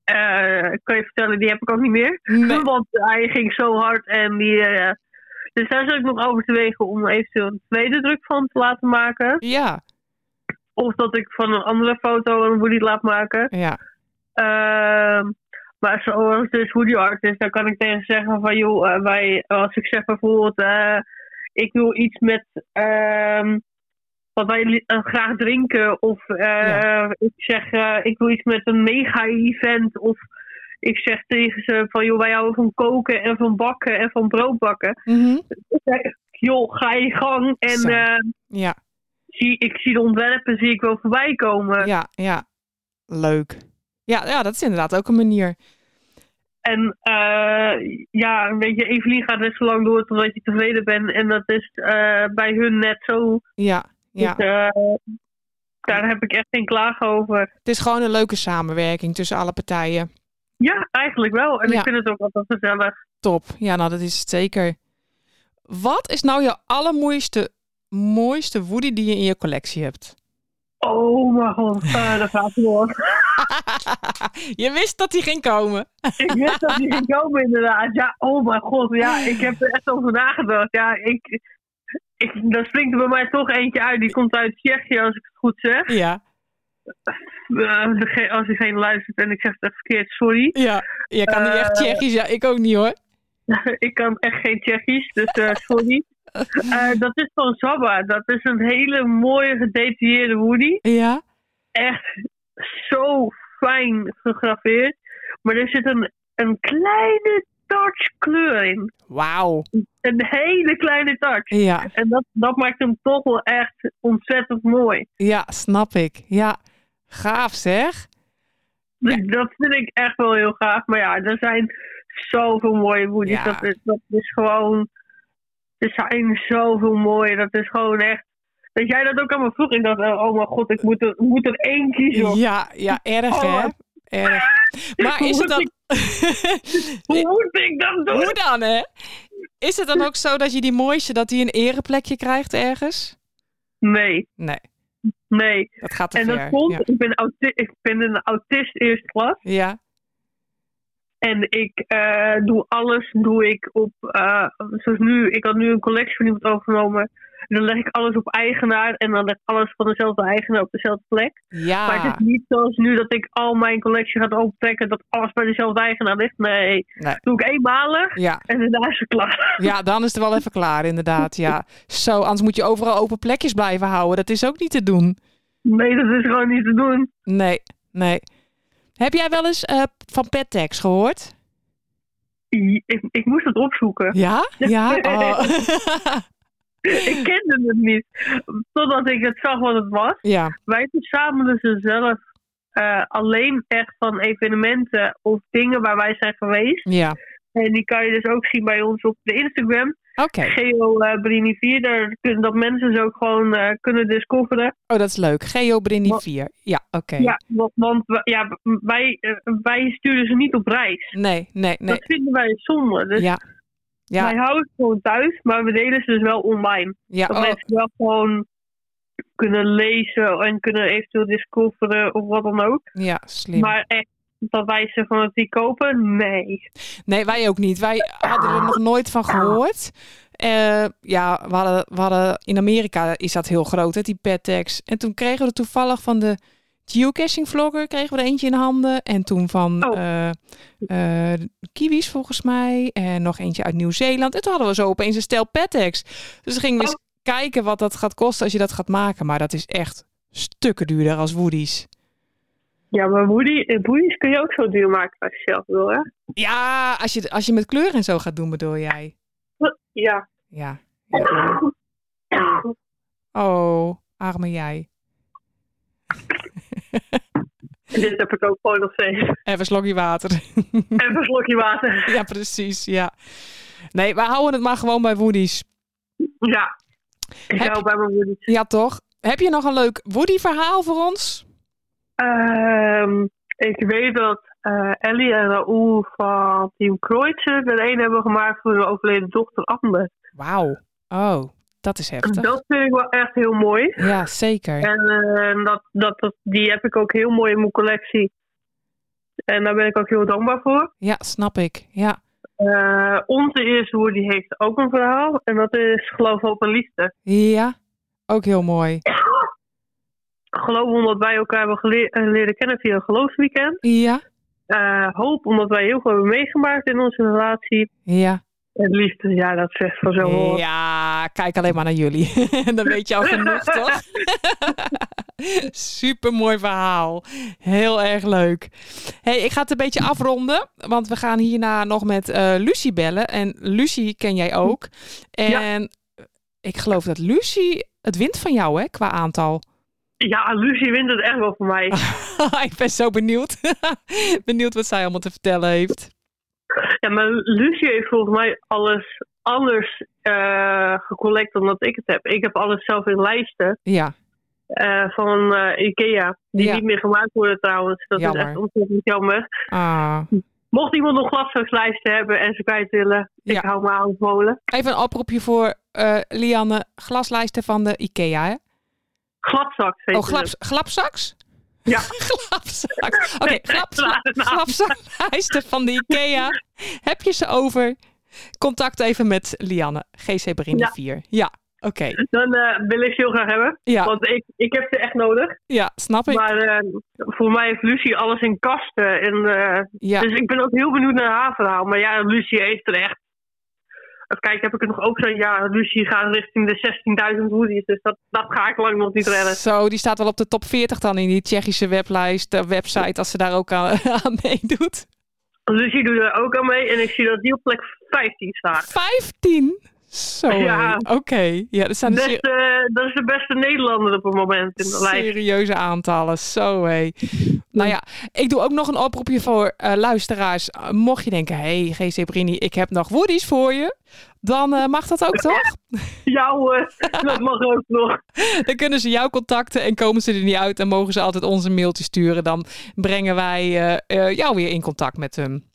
Speaker 3: Eh, ik kan je vertellen, die heb ik ook niet meer.
Speaker 2: Nee.
Speaker 3: Want hij ging zo hard en die... eh, dus daar zat ik nog over te wegen om eventueel een tweede druk van te laten maken.
Speaker 2: Ja,
Speaker 3: Of dat ik van een andere foto een woody laat maken.
Speaker 2: ja.
Speaker 3: Ehm, maar zoals dus Woody Artist, dan kan ik tegen zeggen van joh, eh, wij, als ik zeg bijvoorbeeld, eh, ik wil iets met ehm, wat wij li- eh, graag drinken. Of eh,
Speaker 2: Ja.
Speaker 3: ik zeg, eh, ik wil iets met een mega-event. Of ik zeg tegen ze van joh, wij houden van koken en van bakken en van brood bakken.
Speaker 2: Mhm.
Speaker 3: Ik zeg, joh, ga je gang. En
Speaker 2: Zo.
Speaker 3: eh,
Speaker 2: Ja,
Speaker 3: zie, ik zie de ontwerpen, zie ik wel voorbij komen.
Speaker 2: ja, ja. Leuk. Ja, ja, dat is inderdaad ook een manier.
Speaker 3: En eh, ja, weet je, Evelien gaat net zo lang door totdat je tevreden bent. En dat is eh, bij hun net zo.
Speaker 2: Ja, ja.
Speaker 3: Dus, eh, daar heb ik echt geen klagen over.
Speaker 2: Het is gewoon een leuke samenwerking tussen alle partijen.
Speaker 3: Ja, eigenlijk wel. En
Speaker 2: Ja.
Speaker 3: ik vind het ook altijd gezellig.
Speaker 2: Top. Ja, nou dat is het zeker. Wat is nou jouw allermooiste, mooiste woody die je in je collectie hebt?
Speaker 3: Oh mijn god, eh, dat gaat door.
Speaker 2: je wist dat die ging komen.
Speaker 3: ik wist dat die ging komen inderdaad. Ja, oh mijn god. Ja, ik heb er echt over nagedacht. Ja, ik... Ik, dan springt er bij mij toch eentje uit. Die komt uit Tsjechië, als ik het goed zeg.
Speaker 2: Ja,
Speaker 3: Eh, dege- als diegene luistert en ik zeg het echt verkeerd, sorry.
Speaker 2: ja. Jij kan niet
Speaker 3: Eh.
Speaker 2: echt Tsjechisch. Ja, ik ook niet hoor.
Speaker 3: ik kan echt geen Tsjechisch, dus eh, sorry. Eh, dat is van Zabba. Dat is een hele mooie, gedetailleerde woody.
Speaker 2: Ja,
Speaker 3: Echt zo fijn gegraveerd. Maar er zit een, een kleine touch kleur in.
Speaker 2: wauw.
Speaker 3: Een hele kleine touch.
Speaker 2: Ja,
Speaker 3: En dat, dat maakt hem toch wel echt ontzettend mooi.
Speaker 2: ja, snap ik. Ja, gaaf zeg.
Speaker 3: Dus dat vind ik echt wel heel gaaf. Maar ja, er zijn zoveel mooie woedies.
Speaker 2: Ja.
Speaker 3: Dat, is, dat is gewoon. Er zijn zoveel mooie. Dat is gewoon echt. Dat jij dat ook aan me vroeg. Ik dacht, eh, oh mijn god, ik moet er, ik moet er één kiezen.
Speaker 2: Ja, ja, erg
Speaker 3: Oh,
Speaker 2: hè.
Speaker 3: wat-
Speaker 2: Erg. Maar is het dan...
Speaker 3: Hoe moet ik dat doen?
Speaker 2: Hoe dan, hè? Is het dan ook zo dat je die mooiste, dat die een ereplekje krijgt ergens?
Speaker 3: Nee,
Speaker 2: Nee,
Speaker 3: nee.
Speaker 2: dat gaat te
Speaker 3: En
Speaker 2: ver.
Speaker 3: dat komt,
Speaker 2: Ja.
Speaker 3: ik, ben auti- ik ben een autist eerste klas.
Speaker 2: ja,
Speaker 3: En ik eh, doe alles doe ik op, eh, zoals nu, ik had nu een collectie van iemand overgenomen. En dan leg ik alles op eigenaar en dan leg ik alles van dezelfde eigenaar op dezelfde plek. Maar het
Speaker 2: ja.
Speaker 3: is niet zoals nu dat ik al mijn collectie ga optrekken dat alles bij dezelfde eigenaar ligt. Nee,
Speaker 2: Nee.
Speaker 3: doe ik eenmalig
Speaker 2: Ja.
Speaker 3: en daarna is het klaar.
Speaker 2: ja, dan is het wel even klaar, inderdaad. Ja. Zo, anders moet je overal open plekjes blijven houden. Dat is ook niet te doen.
Speaker 3: Nee, dat is gewoon niet te doen.
Speaker 2: Nee, nee. Heb jij wel eens eh, van Pettex gehoord?
Speaker 3: I- Ik, ik moest het opzoeken.
Speaker 2: Ja? Ja? Oh.
Speaker 3: Ik kende het niet. Totdat ik het zag wat het was.
Speaker 2: ja.
Speaker 3: Wij verzamelen ze zelf eh, alleen echt van evenementen of dingen waar wij zijn geweest.
Speaker 2: Ja.
Speaker 3: En die kan je dus ook zien bij ons op de Instagram.
Speaker 2: Oké.
Speaker 3: Geo eh, Brini 4. Daar kunnen dat mensen ze ook gewoon eh, kunnen discoveren.
Speaker 2: Oh, dat is leuk. Geo Brini
Speaker 3: Wat-
Speaker 2: 4. Ja, oké.
Speaker 3: Ja, want, want we- ja, wij, eh, wij sturen ze niet op reis.
Speaker 2: Nee, nee, nee.
Speaker 3: Dat vinden wij zonde. Dus
Speaker 2: Ja.
Speaker 3: wij
Speaker 2: Ja.
Speaker 3: houden het gewoon thuis, maar we delen ze dus wel online.
Speaker 2: Ja.
Speaker 3: Dat
Speaker 2: Oh,
Speaker 3: mensen wel gewoon kunnen lezen en kunnen eventueel discoveren of wat dan ook.
Speaker 2: Oh, ja, slim.
Speaker 3: Maar echt, dat wij ze van het die kopen, nee.
Speaker 2: Nee, wij ook niet. Wij hadden er nog nooit van gehoord. Eh, ja, we hadden, we hadden, in Amerika is dat heel groot, hè, die pettags. En toen kregen we er toevallig van de geocaching vlogger kregen we er eentje in handen. En toen van
Speaker 3: Oh.
Speaker 2: eh, eh, kiwis volgens mij. En nog eentje uit Nieuw-Zeeland. En toen hadden we zo opeens een stel pettags. Dus dan gingen we eens kijken wat dat gaat kosten als je dat gaat maken. Maar dat is echt stukken duurder als Woody's.
Speaker 3: Ja, maar Woody, eh, boeies kun je ook zo duur maken als je zelf wil, hè?
Speaker 2: Ja, als je, als je met kleur en zo gaat doen, bedoel jij?
Speaker 3: Ja.
Speaker 2: Ja. ja. Oh, arme jij.
Speaker 3: Dit heb ik ook gewoon nog steeds.
Speaker 2: Even een slokje water.
Speaker 3: Even een slokje water.
Speaker 2: ja, precies. Ja. Nee, we houden het maar gewoon bij Woody's.
Speaker 3: Ja. Ik
Speaker 2: Heb
Speaker 3: hou
Speaker 2: je-
Speaker 3: bij mijn Woody.
Speaker 2: Ja, toch? Heb je nog een leuk Woody-verhaal voor ons?
Speaker 3: Ehm, ik weet dat eh, Ellie en Raoul van Team Kreutzer er een hebben gemaakt voor hun overleden dochter Amber.
Speaker 2: Wauw. Oh, dat is heftig.
Speaker 3: Dat vind ik wel echt heel mooi.
Speaker 2: Ja, zeker.
Speaker 3: En eh, dat, dat, dat, die heb ik ook heel mooi in mijn collectie. En daar ben ik ook heel dankbaar voor.
Speaker 2: Ja, snap ik. Ja,
Speaker 3: Eh, onze eerste woord die heeft ook een verhaal. En dat is Geloof, Hoop en Liefde.
Speaker 2: ja. ook heel mooi.
Speaker 3: Geloof omdat wij elkaar hebben gele- eh, leren kennen via een geloofsweekend.
Speaker 2: Ja,
Speaker 3: Eh, hoop omdat wij heel veel hebben meegemaakt in onze relatie.
Speaker 2: ja.
Speaker 3: En liefde, ja, dat zegt vanzelf wel. wat.
Speaker 2: Ja, kijk alleen maar naar jullie. Dan weet je al genoeg, toch? Super mooi verhaal. Heel erg leuk. Hey, ik ga het een beetje afronden, want we gaan hierna nog met eh Lucie bellen. En Lucie ken jij ook. En ik geloof dat Lucie het wint van jou, hè, qua aantal.
Speaker 3: Ja, Lucie wint het echt wel voor mij.
Speaker 2: ik ben zo benieuwd. benieuwd wat zij allemaal te vertellen heeft.
Speaker 3: Ja, maar Lucie heeft volgens mij alles anders eh, gecollect dan dat ik het heb. Ik heb alles zelf in lijsten
Speaker 2: Ja,
Speaker 3: eh, van eh, Ikea. Die
Speaker 2: Ja.
Speaker 3: niet meer gemaakt worden trouwens. Dat
Speaker 2: Jammer.
Speaker 3: is echt ontzettend jammer.
Speaker 2: ah.
Speaker 3: Mocht iemand nog glashuislijsten hebben en ze kwijt willen,
Speaker 2: Ja.
Speaker 3: ik hou me aanbevolen.
Speaker 2: even een oproepje voor eh, Lianne. Glaslijsten van de IKEA, hè?
Speaker 3: Glatzak, zeker.
Speaker 2: Oh, glaps, glapzaks?
Speaker 3: Ja.
Speaker 2: glapzaks. Oké,
Speaker 3: Nee,
Speaker 2: glaps,
Speaker 3: klaar, nou.
Speaker 2: glapzaklijsten van de IKEA. Heb je ze over? Contact even met Lianne, GC Brini
Speaker 3: Ja.
Speaker 2: 4. Ja, oké.
Speaker 3: Dan eh, wil ik ze heel graag hebben,
Speaker 2: Ja,
Speaker 3: want ik, ik heb ze echt nodig.
Speaker 2: ja, snap ik.
Speaker 3: Maar eh, voor mij heeft Lucie alles in kasten. En, eh,
Speaker 2: Ja,
Speaker 3: Dus ik ben ook heel benieuwd naar haar verhaal. Maar ja, Lucie heeft er echt... Even kijken, heb ik het nog ook zo'n Ja, Lucie gaat richting de 16.000 hoodies. Dus dat, dat ga ik lang nog niet redden.
Speaker 2: zo, die staat wel op de top 40 dan in die Tsjechische weblijst, eh, website, als ze daar ook aan, aan meedoet.
Speaker 3: Lucie doet er ook aan mee. En ik zie dat die op plek 15 staat.
Speaker 2: 15? Zo,
Speaker 3: Ja.
Speaker 2: hé. oké. Ja, dat zijn
Speaker 3: Dus,
Speaker 2: dus
Speaker 3: eh, dat is de beste Nederlander op het moment in de lijst.
Speaker 2: Serieuze aantallen, zo hé. Nou ja, ik doe ook nog een oproepje voor eh, luisteraars. Eh, mocht je denken, hé hey, GC Brini, ik heb nog woodies voor je. Dan eh, mag dat ook toch?
Speaker 3: Ja hoor, dat mag ook nog.
Speaker 2: Dan kunnen ze jou contacten en komen ze er niet uit. En mogen ze altijd onze mailtje sturen. Dan brengen wij eh, eh, jou weer in contact met hem.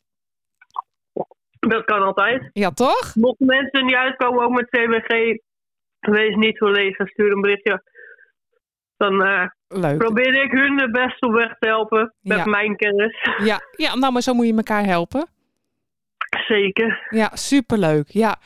Speaker 3: Dat kan altijd.
Speaker 2: Ja toch?
Speaker 3: Mochten mensen er niet uitkomen, ook met CBG, wees niet zo leeg en stuur een berichtje. Dan eh,
Speaker 2: Leuk.
Speaker 3: probeer ik hun het best op weg te helpen met
Speaker 2: Ja.
Speaker 3: mijn kennis.
Speaker 2: Ja, ja, nou maar zo moet je elkaar helpen.
Speaker 3: Zeker.
Speaker 2: Ja, superleuk. Ja.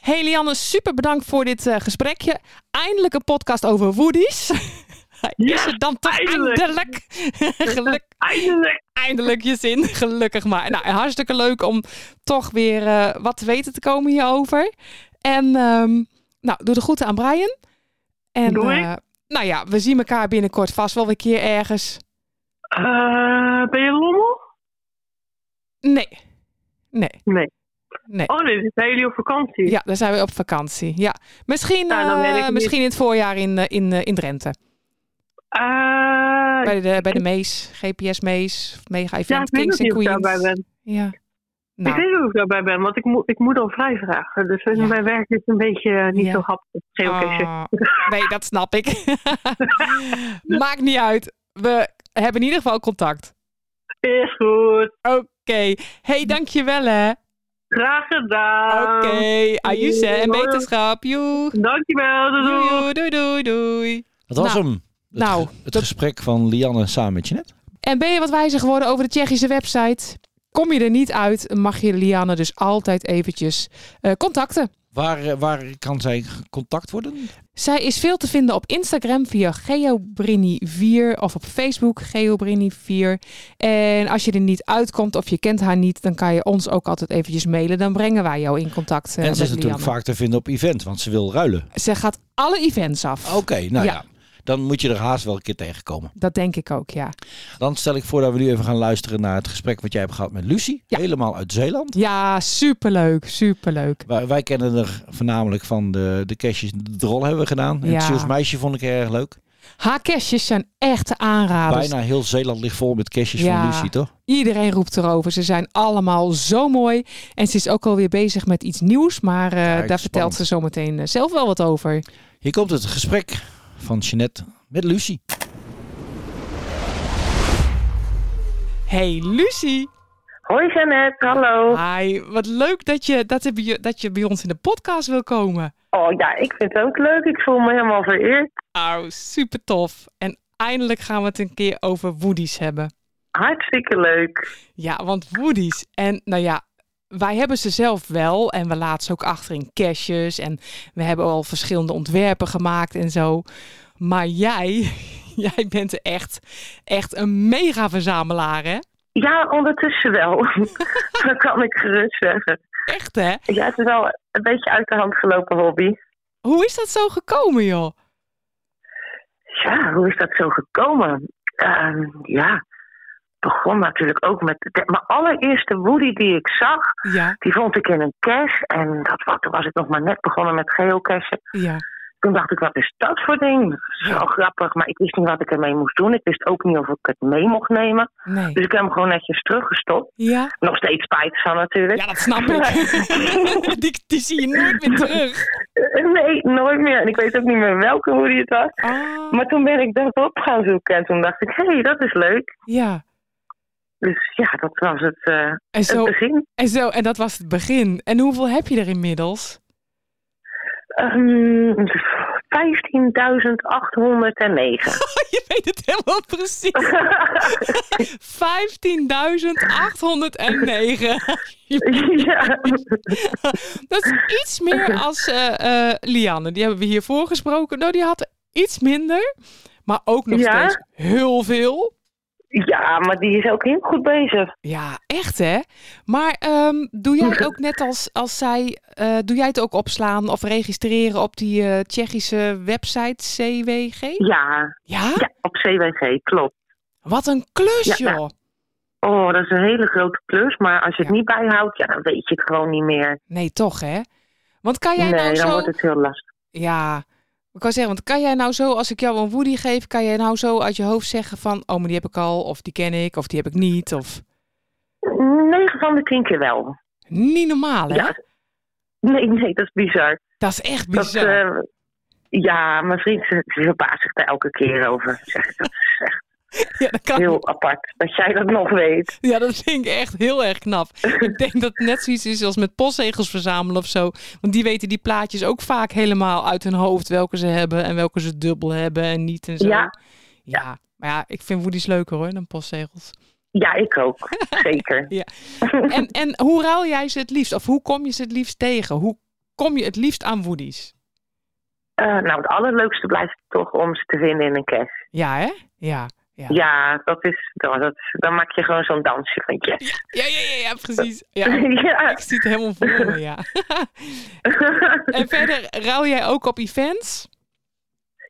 Speaker 2: Hey Lianne, super bedankt voor dit eh, gesprekje. Eindelijk een podcast over woodies. Hij is
Speaker 3: Ja,
Speaker 2: er dan toch
Speaker 3: eindelijk.
Speaker 2: eindelijk. Geluk,
Speaker 3: Eindelijk.
Speaker 2: eindelijk je zin, gelukkig maar. Nou, hartstikke leuk om toch weer eh, wat te weten te komen hierover. En ehm, nou, doe de groeten aan Brian. En,
Speaker 3: Doei.
Speaker 2: eh, Nou ja, we zien elkaar binnenkort vast wel weer een keer ergens.
Speaker 3: Eh, ben je lommel?
Speaker 2: Nee. Nee.
Speaker 3: Nee.
Speaker 2: Nee.
Speaker 3: Oh nee, dus zijn jullie op vakantie?
Speaker 2: Ja, daar zijn we op vakantie. Ja. Misschien,
Speaker 3: Nou, dan weet ik
Speaker 2: eh,
Speaker 3: niet.
Speaker 2: misschien in het voorjaar in, eh, in, eh, in Drenthe.
Speaker 3: Eh,
Speaker 2: Bij de, bij de Mees, GPS Mees, Mega
Speaker 3: ja,
Speaker 2: Event
Speaker 3: ik weet
Speaker 2: Kings
Speaker 3: nog
Speaker 2: en
Speaker 3: niet of ik
Speaker 2: Queens.
Speaker 3: daarbij ben.
Speaker 2: Ja.
Speaker 3: Ik
Speaker 2: Nou,
Speaker 3: weet niet of ik daarbij ben, want ik, moet ik moet al vrij vragen. Dus eh,
Speaker 2: Ja.
Speaker 3: mijn werk is een beetje eh, niet
Speaker 2: Ja.
Speaker 3: zo happig. Geen occasje.
Speaker 2: ah, nee, dat snap ik. Maakt niet uit. We hebben in ieder geval contact.
Speaker 3: Is goed.
Speaker 2: Oké. Hey, dankjewel hè.
Speaker 3: Graag gedaan.
Speaker 2: Oké. Ajuus hè. En
Speaker 3: Hoi.
Speaker 2: beterschap. Joeg.
Speaker 3: Dankjewel. Doei.
Speaker 2: Doei,
Speaker 3: doei.
Speaker 2: doei, doei, doei.
Speaker 1: Dat was
Speaker 2: Nou,
Speaker 1: hem. Het,
Speaker 2: nou,
Speaker 1: ge- het
Speaker 2: dat-
Speaker 1: gesprek van Lianne samen met Jeanette.
Speaker 2: En ben je wat wijzer geworden over de Tsjechische website? Kom je er niet uit, mag je Liane dus altijd eventjes eh, contacten.
Speaker 1: Waar, eh, waar kan zij contact worden?
Speaker 2: Zij is veel te vinden op Instagram via GeoBrini4 of op Facebook GeoBrini4. En als je er niet uitkomt of je kent haar niet, dan kan je ons ook altijd eventjes mailen. Dan brengen wij jou in contact eh,
Speaker 1: en ze is
Speaker 2: met
Speaker 1: natuurlijk
Speaker 2: Lianne.
Speaker 1: vaak te vinden op event, want ze wil ruilen.
Speaker 2: Ze gaat alle events af.
Speaker 1: Oké, nou ja.
Speaker 2: Ja.
Speaker 1: Dan moet je er haast wel een keer tegenkomen.
Speaker 2: Dat denk ik ook, ja.
Speaker 1: Dan stel ik voor dat we nu even gaan luisteren naar het gesprek wat jij hebt gehad met Lucie.
Speaker 2: Ja.
Speaker 1: Helemaal uit Zeeland.
Speaker 2: Ja, superleuk, superleuk.
Speaker 1: Wij, wij kennen haar voornamelijk van de, de kerstjes de drol hebben we gedaan. En Het
Speaker 2: Ja.
Speaker 1: Zeeuws meisje vond ik erg leuk.
Speaker 2: Haar kerstjes zijn echte aanraders.
Speaker 1: Bijna heel Zeeland ligt vol met kerstjes
Speaker 2: dus- Ja.
Speaker 1: van Lucie, toch?
Speaker 2: Iedereen roept erover. Ze zijn allemaal zo mooi. En ze is ook alweer bezig met iets nieuws. Maar eh, daar
Speaker 1: Kijk, spannend.
Speaker 2: vertelt ze zometeen eh, zelf wel wat over.
Speaker 1: Hier komt het gesprek van Jeanette met Lucie.
Speaker 2: Hey Lucie.
Speaker 3: Hoi Jeannette, hallo.
Speaker 2: Hi, wat leuk dat je, dat, je bij je- dat je bij ons in de podcast wil komen.
Speaker 3: Oh ja, ik vind het ook leuk. Ik voel me helemaal vereerd.
Speaker 2: Auw, super tof. En eindelijk gaan we het een keer over Woody's hebben.
Speaker 3: Hartstikke leuk.
Speaker 2: Ja, want Woody's. En nou ja, wij hebben ze zelf wel. En we laten ze ook achter in caches. En we hebben al verschillende ontwerpen gemaakt en zo. Maar jij, jij bent echt, echt een mega verzamelaar, hè?
Speaker 3: Ja, ondertussen wel. Dat kan ik gerust zeggen.
Speaker 2: Echt, hè?
Speaker 3: Ja, het is wel een beetje uit de hand gelopen hobby.
Speaker 2: Hoe is dat zo gekomen, joh?
Speaker 3: Ja, hoe is dat zo gekomen? Ehm, ja, begon natuurlijk ook met... De, mijn allereerste Woody die ik zag,
Speaker 2: Ja,
Speaker 3: die vond ik in een cache. En dat, was- toen was ik nog maar net begonnen met geocachen.
Speaker 2: ja.
Speaker 3: Toen dacht ik, wat is dat voor ding? Dat is wel grappig, maar ik wist niet wat ik ermee moest doen. Ik wist ook niet of ik het mee mocht nemen.
Speaker 2: Nee.
Speaker 3: Dus ik heb hem gewoon netjes teruggestopt.
Speaker 2: Ja?
Speaker 3: Nog steeds spijt van natuurlijk.
Speaker 2: Ja, dat snap ik. die, die zie je nooit meer terug.
Speaker 3: Eh, Nee, nooit meer. En ik weet ook niet meer welke hoodie het was.
Speaker 2: Ah,
Speaker 3: Maar toen ben ik dat op gaan zoeken. En toen dacht ik, hé, hey, dat is leuk.
Speaker 2: ja.
Speaker 3: Dus ja, dat was het, eh,
Speaker 2: En zo,
Speaker 3: het begin.
Speaker 2: en zo, en dat was het begin. En hoeveel heb je er inmiddels?
Speaker 3: Ehm 15.809.
Speaker 2: Je weet het helemaal precies. 15.809.
Speaker 3: ja.
Speaker 2: Dat is iets meer als eh, eh, Lianne. Die hebben we hiervoor gesproken. Nou, die had iets minder. Maar ook nog
Speaker 3: Ja?
Speaker 2: steeds heel veel.
Speaker 3: ja, maar die is ook heel goed bezig.
Speaker 2: Ja, echt hè? Maar ehm, doe jij ook net als, als zij, eh, doe jij het ook opslaan of registreren op die eh, Tsjechische website CWG?
Speaker 3: Ja,
Speaker 2: Ja?
Speaker 3: ja, op CWG, klopt.
Speaker 2: Wat een klus
Speaker 3: Ja, nou. ja.
Speaker 2: joh!
Speaker 3: Oh, dat is een hele grote plus. Maar als je het
Speaker 2: Ja.
Speaker 3: niet bijhoudt, ja, dan weet je het gewoon niet meer.
Speaker 2: Nee, toch hè? Want kan jij
Speaker 3: nee,
Speaker 2: nou
Speaker 3: dan
Speaker 2: zo...
Speaker 3: wordt het heel lastig.
Speaker 2: Ja, ik kan zeggen, want kan jij nou zo, als ik jou een Woody geef, kan jij nou zo uit je hoofd zeggen van, oh maar die heb ik al, of die ken ik, of die heb ik niet, of...
Speaker 3: 9 van de 10 keer wel.
Speaker 2: Niet normaal hè?
Speaker 3: Ja. Nee, nee, dat is bizar.
Speaker 2: Dat is echt
Speaker 3: Dat,
Speaker 2: bizar.
Speaker 3: eh, ja, mijn vriend ze- ze verbaast zich daar elke keer over. Zeg, Dat is echt
Speaker 2: ja, dat kan
Speaker 3: heel apart dat jij dat nog weet.
Speaker 2: Ja, dat vind ik echt heel erg knap. Ik denk dat het net zoiets is als met postzegels verzamelen of zo. Want die weten die plaatjes ook vaak helemaal uit hun hoofd welke ze hebben en welke ze dubbel hebben en niet en zo.
Speaker 3: Ja.
Speaker 2: Ja, maar ja, ik vind woodies leuker hoor dan postzegels.
Speaker 3: Ja, ik ook. Zeker.
Speaker 2: En, en hoe ruil jij ze het liefst? Of hoe kom je ze het liefst tegen? Hoe kom je het liefst aan woodies?
Speaker 3: Eh, nou, het allerleukste blijft toch om ze te vinden in een cash.
Speaker 2: Ja, hè? Ja. Ja.
Speaker 3: Ja, dat is, dat, dat, dan maak je gewoon zo'n dansje van yes.
Speaker 2: Ja, ja, ja, ja, precies. Ja,
Speaker 3: Ja.
Speaker 2: ik zie het helemaal voor me, ja. En verder ruil jij ook op events?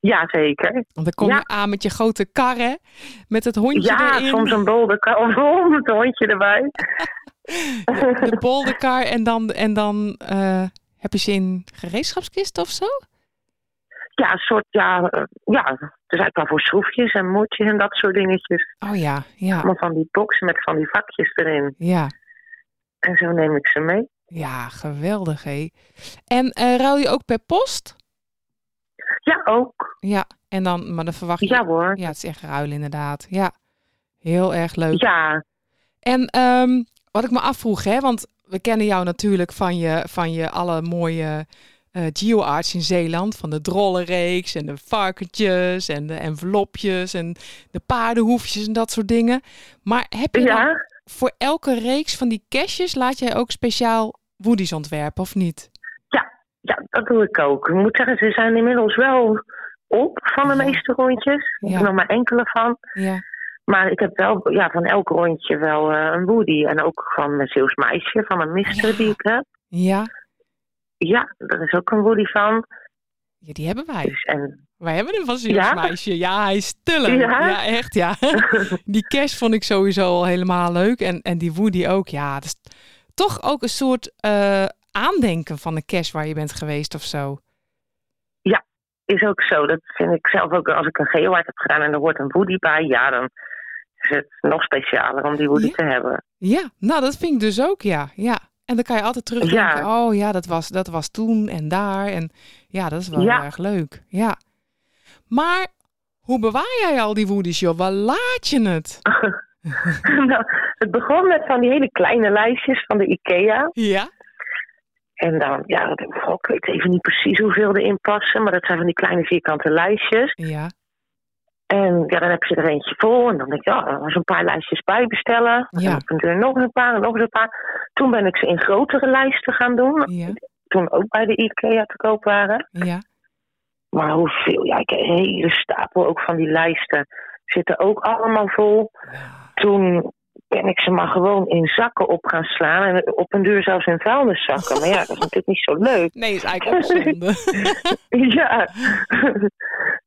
Speaker 3: Ja, zeker.
Speaker 2: Want dan kom
Speaker 3: Ja.
Speaker 2: je aan met je grote kar, hè? Met het hondje
Speaker 3: Ja,
Speaker 2: erin.
Speaker 3: soms een bolde kan met een hondje erbij.
Speaker 2: De bolderkar en dan, en dan eh, heb je ze in gereedschapskisten of zo?
Speaker 3: Ja, een soort, ja, eh, ja, het is eigenlijk wel voor schroefjes en moertjes en dat soort dingetjes.
Speaker 2: Oh ja, ja,
Speaker 3: Allemaal van die boxen met van die vakjes erin.
Speaker 2: ja.
Speaker 3: En zo neem ik ze mee.
Speaker 2: Ja, geweldig, hé. En eh, ruil je ook per post?
Speaker 3: Ja, ook.
Speaker 2: Ja, en dan, maar dan verwacht je...
Speaker 3: Ja hoor.
Speaker 2: Ja, het is echt ruilen inderdaad. Ja, heel erg leuk.
Speaker 3: Ja,
Speaker 2: En ehm, wat ik me afvroeg, hè, want we kennen jou natuurlijk van je, van je alle mooie eh geoarts in Zeeland. Van de drollenreeks en de varkentjes en de envelopjes en de paardenhoefjes en dat soort dingen. Maar heb je dan
Speaker 3: ja.
Speaker 2: voor elke reeks van die caches laat jij ook speciaal woodies ontwerpen of niet?
Speaker 3: ja, dat doe ik ook. Ik moet zeggen, ze zijn inmiddels wel op van de
Speaker 2: Ja.
Speaker 3: meeste rondjes. Ik
Speaker 2: Ja.
Speaker 3: heb nog maar enkele van.
Speaker 2: Ja.
Speaker 3: Maar ik heb wel ja, van elk rondje wel eh, een woody. En ook van mijn Zeeuws meisje, van mijn mister
Speaker 2: Ja.
Speaker 3: die ik heb.
Speaker 2: Ja,
Speaker 3: Ja, daar is ook een woody van.
Speaker 2: ja die hebben wij.
Speaker 3: Dus, en,
Speaker 2: Wij hebben hem van Zeeuws
Speaker 3: Ja?
Speaker 2: meisje. Ja, hij is stiller. Ja?
Speaker 3: Ja?
Speaker 2: echt, ja. Die cash vond ik sowieso al helemaal leuk. En, en die Woody ook, ja. Het is toch ook een soort eh, aandenken van de cash waar je bent geweest of zo.
Speaker 3: is ook zo. Dat vind ik zelf ook. Als ik een geoart heb gedaan en er hoort een woody bij, ja, dan is het nog specialer om die woody
Speaker 2: Ja.
Speaker 3: te hebben.
Speaker 2: Ja, nou dat vind ik dus ook, ja. ja. En dan kan je altijd terugdenken. Oh ja, dat was, dat was toen en daar. En ja, dat is wel
Speaker 3: Ja.
Speaker 2: heel erg leuk. Ja. Maar hoe bewaar jij al die Woody's, joh? Waar laat je het?
Speaker 3: nou, het begon met van die hele kleine lijstjes van de IKEA.
Speaker 2: Ja?
Speaker 3: En dan, ja, dat ik, goh, ik weet even niet precies hoeveel erin passen, maar dat zijn van die kleine vierkante lijstjes.
Speaker 2: Ja.
Speaker 3: En ja, dan heb je er eentje vol en dan denk je, ja, er was een paar lijstjes bij bestellen.
Speaker 2: Ja.
Speaker 3: En dan er nog een paar en nog eens een paar. Toen ben ik ze in grotere lijsten gaan doen,
Speaker 2: Ja.
Speaker 3: toen ook bij de IKEA te koop waren.
Speaker 2: Ja.
Speaker 3: Maar hoeveel, ja, ik heb een hele stapel ook van die lijsten zitten ook allemaal vol.
Speaker 2: Ja.
Speaker 3: Toen ben ik ze maar gewoon in zakken op gaan slaan en op een duur zelfs in vuilniszakken. Maar ja, dat is natuurlijk niet zo leuk.
Speaker 2: Nee, is eigenlijk ook zonde.
Speaker 3: Ja.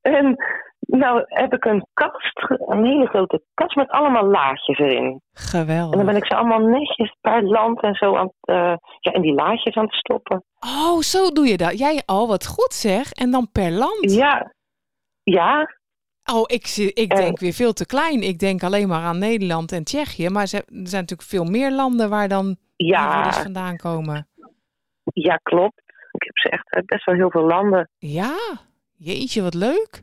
Speaker 3: en nou heb ik een kast, een hele grote kast met allemaal laadjes erin. En dan
Speaker 2: Geweldig.
Speaker 3: ben ik ze allemaal netjes per land en zo aan het, eh, ja, in die laadjes aan het stoppen.
Speaker 2: Oh, zo doe je dat. Jij, oh, wat goed zeg. En dan per land.
Speaker 3: Ja. Ja,
Speaker 2: Oh, ik, zie- ik
Speaker 3: En-
Speaker 2: denk weer veel te klein. Ik denk alleen maar aan Nederland en Tsjechië. Maar ze- er zijn natuurlijk veel meer landen waar dan die
Speaker 3: ja,
Speaker 2: woeders vandaan komen.
Speaker 3: ja, klopt. Ik heb ze echt uit best wel heel veel landen.
Speaker 2: Ja, jeetje, wat leuk.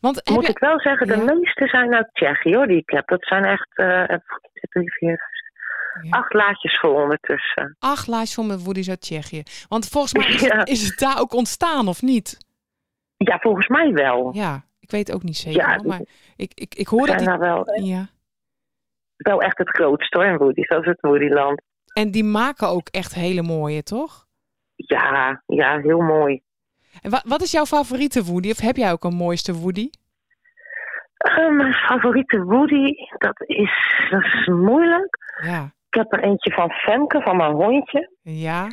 Speaker 2: Want heb
Speaker 3: Moet
Speaker 2: je-
Speaker 3: ik wel zeggen, de
Speaker 2: Ja.
Speaker 3: meeste zijn uit Tsjechië hoor, die ik heb. Dat zijn echt eh, drie, vier,
Speaker 2: Ja.
Speaker 3: acht laadjes vol ondertussen.
Speaker 2: acht lijst van mijn woedies uit Tsjechië. Want volgens mij is,
Speaker 3: Ja.
Speaker 2: het, is het daar ook ontstaan, of niet?
Speaker 3: Ja, volgens mij wel.
Speaker 2: Ja, ik weet ook niet zeker.
Speaker 3: Ja,
Speaker 2: hoor, maar ik, ik, ik hoor dat
Speaker 3: zijn
Speaker 2: die...
Speaker 3: daar wel,
Speaker 2: Ja.
Speaker 3: wel echt het grootste hoor, in Woody. Dat is het Woodyland.
Speaker 2: En die maken ook echt hele mooie, toch?
Speaker 3: Ja, ja, heel mooi.
Speaker 2: En wa- wat is jouw favoriete Woody? Of heb jij ook een mooiste Woody?
Speaker 3: Eh, mijn favoriete Woody, dat is, dat is moeilijk.
Speaker 2: Ja.
Speaker 3: Ik heb er eentje van Femke, van mijn hondje.
Speaker 2: Ja.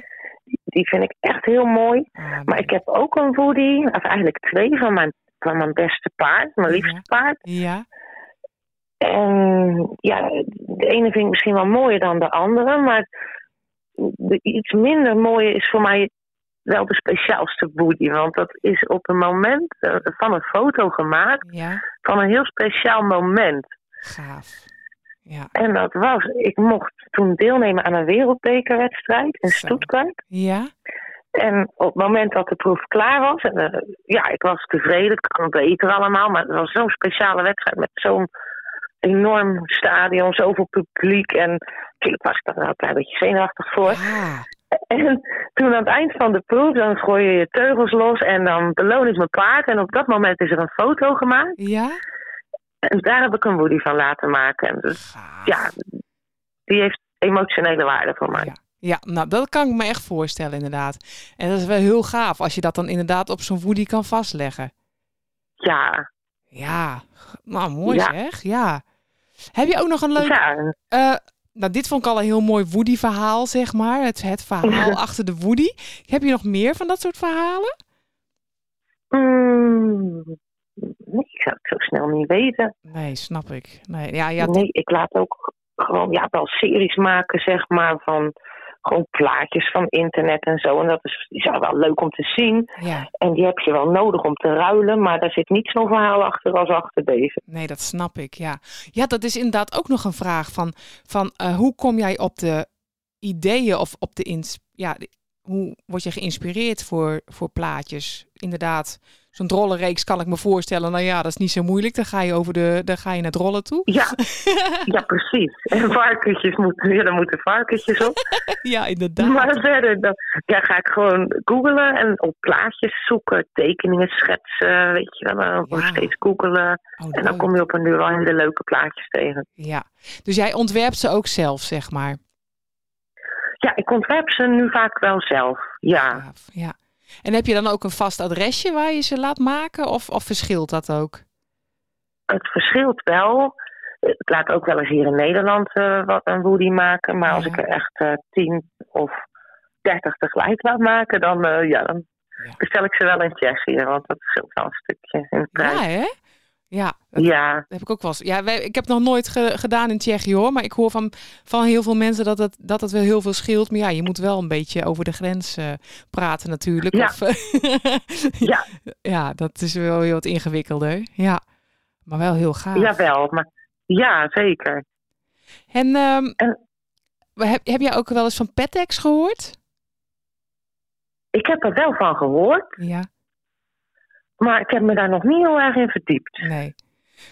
Speaker 3: Die vind ik echt heel mooi.
Speaker 2: Ah,
Speaker 3: Maar ik heb ook een Woody, of eigenlijk twee van mijn, van mijn beste paard, mijn liefste
Speaker 2: Ja.
Speaker 3: paard.
Speaker 2: Ja.
Speaker 3: En ja, de ene vind ik misschien wel mooier dan de andere, maar de iets minder mooie is voor mij wel de speciaalste Woody. Want dat is op een moment eh, van een foto gemaakt,
Speaker 2: Ja.
Speaker 3: van een heel speciaal moment.
Speaker 2: Gaaf. Ja.
Speaker 3: En dat was, ik mocht toen deelnemen aan een wereldbekerwedstrijd in
Speaker 2: Zo.
Speaker 3: Stuttgart.
Speaker 2: Ja.
Speaker 3: En op het moment dat de proef klaar was, en, eh, ja, ik was tevreden, het kan beter allemaal, maar het was zo'n speciale wedstrijd met zo'n enorm stadion, zoveel publiek. En natuurlijk was ik daar wel een klein beetje zenuwachtig voor.
Speaker 2: Ja.
Speaker 3: En toen aan het eind van de proef, dan gooi je je teugels los en dan beloon ik mijn paard. En op dat moment is er een foto gemaakt.
Speaker 2: Ja.
Speaker 3: En daar heb ik een woody van laten maken. En dus,
Speaker 2: Gaaf.
Speaker 3: ja, die heeft emotionele waarde voor mij.
Speaker 2: Ja. Ja, nou dat kan ik me echt voorstellen inderdaad. En dat is wel heel gaaf als je dat dan inderdaad op zo'n woody kan vastleggen.
Speaker 3: Ja,
Speaker 2: Ja, nou mooi
Speaker 3: Ja.
Speaker 2: zeg. Ja. Heb je ook nog een leuk...
Speaker 3: ja,
Speaker 2: eh, nou, dit vond ik al een heel mooi woody verhaal, zeg maar. Het, het verhaal achter de woody. Heb je nog meer van dat soort verhalen?
Speaker 3: Mm, nee, ik zou het zo snel niet weten.
Speaker 2: Nee, snap ik. Nee, ja, ja,
Speaker 3: nee, ik laat ook gewoon ja, wel series maken, zeg maar, van gewoon plaatjes van internet en zo. En dat is, die zijn wel leuk om te zien.
Speaker 2: ja,
Speaker 3: En die heb je wel nodig om te ruilen, maar daar zit niet zo'n verhaal achter als achter deze.
Speaker 2: nee, dat snap ik. Ja, ja dat is inderdaad ook nog een vraag van, van eh, hoe kom jij op de ideeën of op de ins ja, de- hoe word je geïnspireerd voor, voor plaatjes? Inderdaad, zo'n drollenreeks kan ik me voorstellen. Nou ja, dat is niet zo moeilijk. Dan ga je over de, dan ga je naar drollen toe.
Speaker 3: Ja, ja precies. En varkentjes moeten, ja, daar moeten varkentjes op.
Speaker 2: ja, inderdaad.
Speaker 3: Maar verder, dan, ja, ga ik gewoon googlen en op plaatjes zoeken, tekeningen schetsen, weet je wel, dan
Speaker 2: Ja.
Speaker 3: steeds googelen.
Speaker 2: Oh,
Speaker 3: En
Speaker 2: leuk.
Speaker 3: dan kom je op een uur wel hele leuke plaatjes tegen.
Speaker 2: Ja, dus jij ontwerpt ze ook zelf, zeg maar.
Speaker 3: Ja, ik ontwerp ze nu vaak wel zelf, ja.
Speaker 2: Gaaf, Ja. En heb je dan ook een vast adresje waar je ze laat maken? Of, of verschilt dat ook?
Speaker 3: Het verschilt wel. Ik laat ook wel eens hier in Nederland eh, wat een woody maken, maar als
Speaker 2: Ja.
Speaker 3: ik er echt eh, tien of dertig tegelijk laat maken, dan, eh, ja, dan
Speaker 2: Ja.
Speaker 3: bestel ik ze wel in Tsjechië, want dat scheelt wel een stukje in de
Speaker 2: Ja,
Speaker 3: prijs.
Speaker 2: hè? Ja, dat
Speaker 3: Ja,
Speaker 2: heb ik ook wel eens. Ja, wij, ik heb nog nooit ge- gedaan in Tsjechië hoor. Maar ik hoor van, van heel veel mensen dat het, dat het wel heel veel scheelt. Maar ja, je moet wel een beetje over de grens eh, praten natuurlijk.
Speaker 3: Ja.
Speaker 2: Of, eh,
Speaker 3: Ja.
Speaker 2: ja, dat is wel heel wat ingewikkelder. Ja, maar wel heel gaaf.
Speaker 3: jawel, maar ja, zeker.
Speaker 2: En, ehm,
Speaker 3: En-
Speaker 2: heb, heb jij ook wel eens van Petex gehoord?
Speaker 3: Ik heb er wel van gehoord,
Speaker 2: Ja.
Speaker 3: maar ik heb me daar nog niet heel erg in verdiept.
Speaker 2: Nee.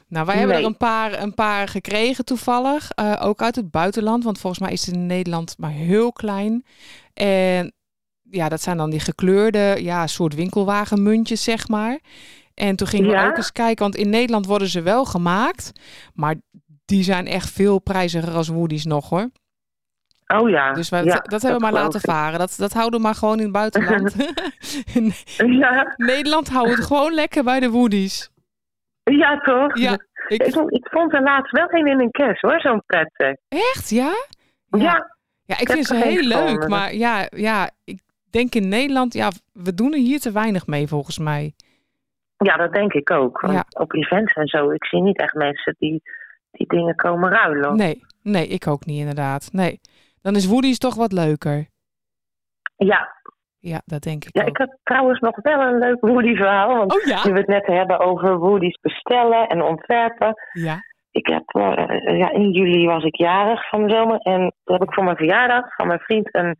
Speaker 2: Nou, wij hebben
Speaker 3: Nee.
Speaker 2: er een paar, een paar gekregen toevallig. eh, ook uit het buitenland. Want volgens mij is het in Nederland maar heel klein. En ja, dat zijn dan die gekleurde, ja, soort winkelwagenmuntjes, zeg maar. En toen gingen we
Speaker 3: Ja.
Speaker 2: ook eens kijken. Want in Nederland worden ze wel gemaakt. Maar die zijn echt veel prijziger als Woody's nog, hoor.
Speaker 3: Oh ja.
Speaker 2: dus wij,
Speaker 3: ja,
Speaker 2: dat, hebben we maar
Speaker 3: geloof
Speaker 2: laten varen. Dat, dat houden we maar gewoon in het buitenland. in
Speaker 3: ik. Ja,
Speaker 2: Nederland houden we het gewoon lekker bij de Woody's.
Speaker 3: ja toch?
Speaker 2: Ja,
Speaker 3: Ik,
Speaker 2: ik,
Speaker 3: ik vond er laatst wel een in een kerst hoor, zo'n prettig.
Speaker 2: echt, ja?
Speaker 3: ja,
Speaker 2: Ja, ik
Speaker 3: Ik heb
Speaker 2: vind ze
Speaker 3: er geen
Speaker 2: heel leuk,
Speaker 3: gevonden.
Speaker 2: maar ja, ja, ik denk in Nederland, ja, we doen er hier te weinig mee volgens mij.
Speaker 3: Ja, dat denk ik ook. Want
Speaker 2: Ja.
Speaker 3: op events en zo, ik zie niet echt mensen die, die dingen komen ruilen.
Speaker 2: Nee, nee, ik ook niet inderdaad. Nee, dan is Woody's toch wat leuker.
Speaker 3: Ja,
Speaker 2: Ja, dat denk ik
Speaker 3: ja,
Speaker 2: ook.
Speaker 3: ik heb trouwens nog wel een leuk Woody-verhaal. Want
Speaker 2: Oh
Speaker 3: nu
Speaker 2: ja,
Speaker 3: we het net hebben over Woody's bestellen en ontwerpen.
Speaker 2: ja,
Speaker 3: Ik heb, eh, ja, in juli was ik jarig van de zomer. En toen heb ik voor mijn verjaardag van mijn vriend een,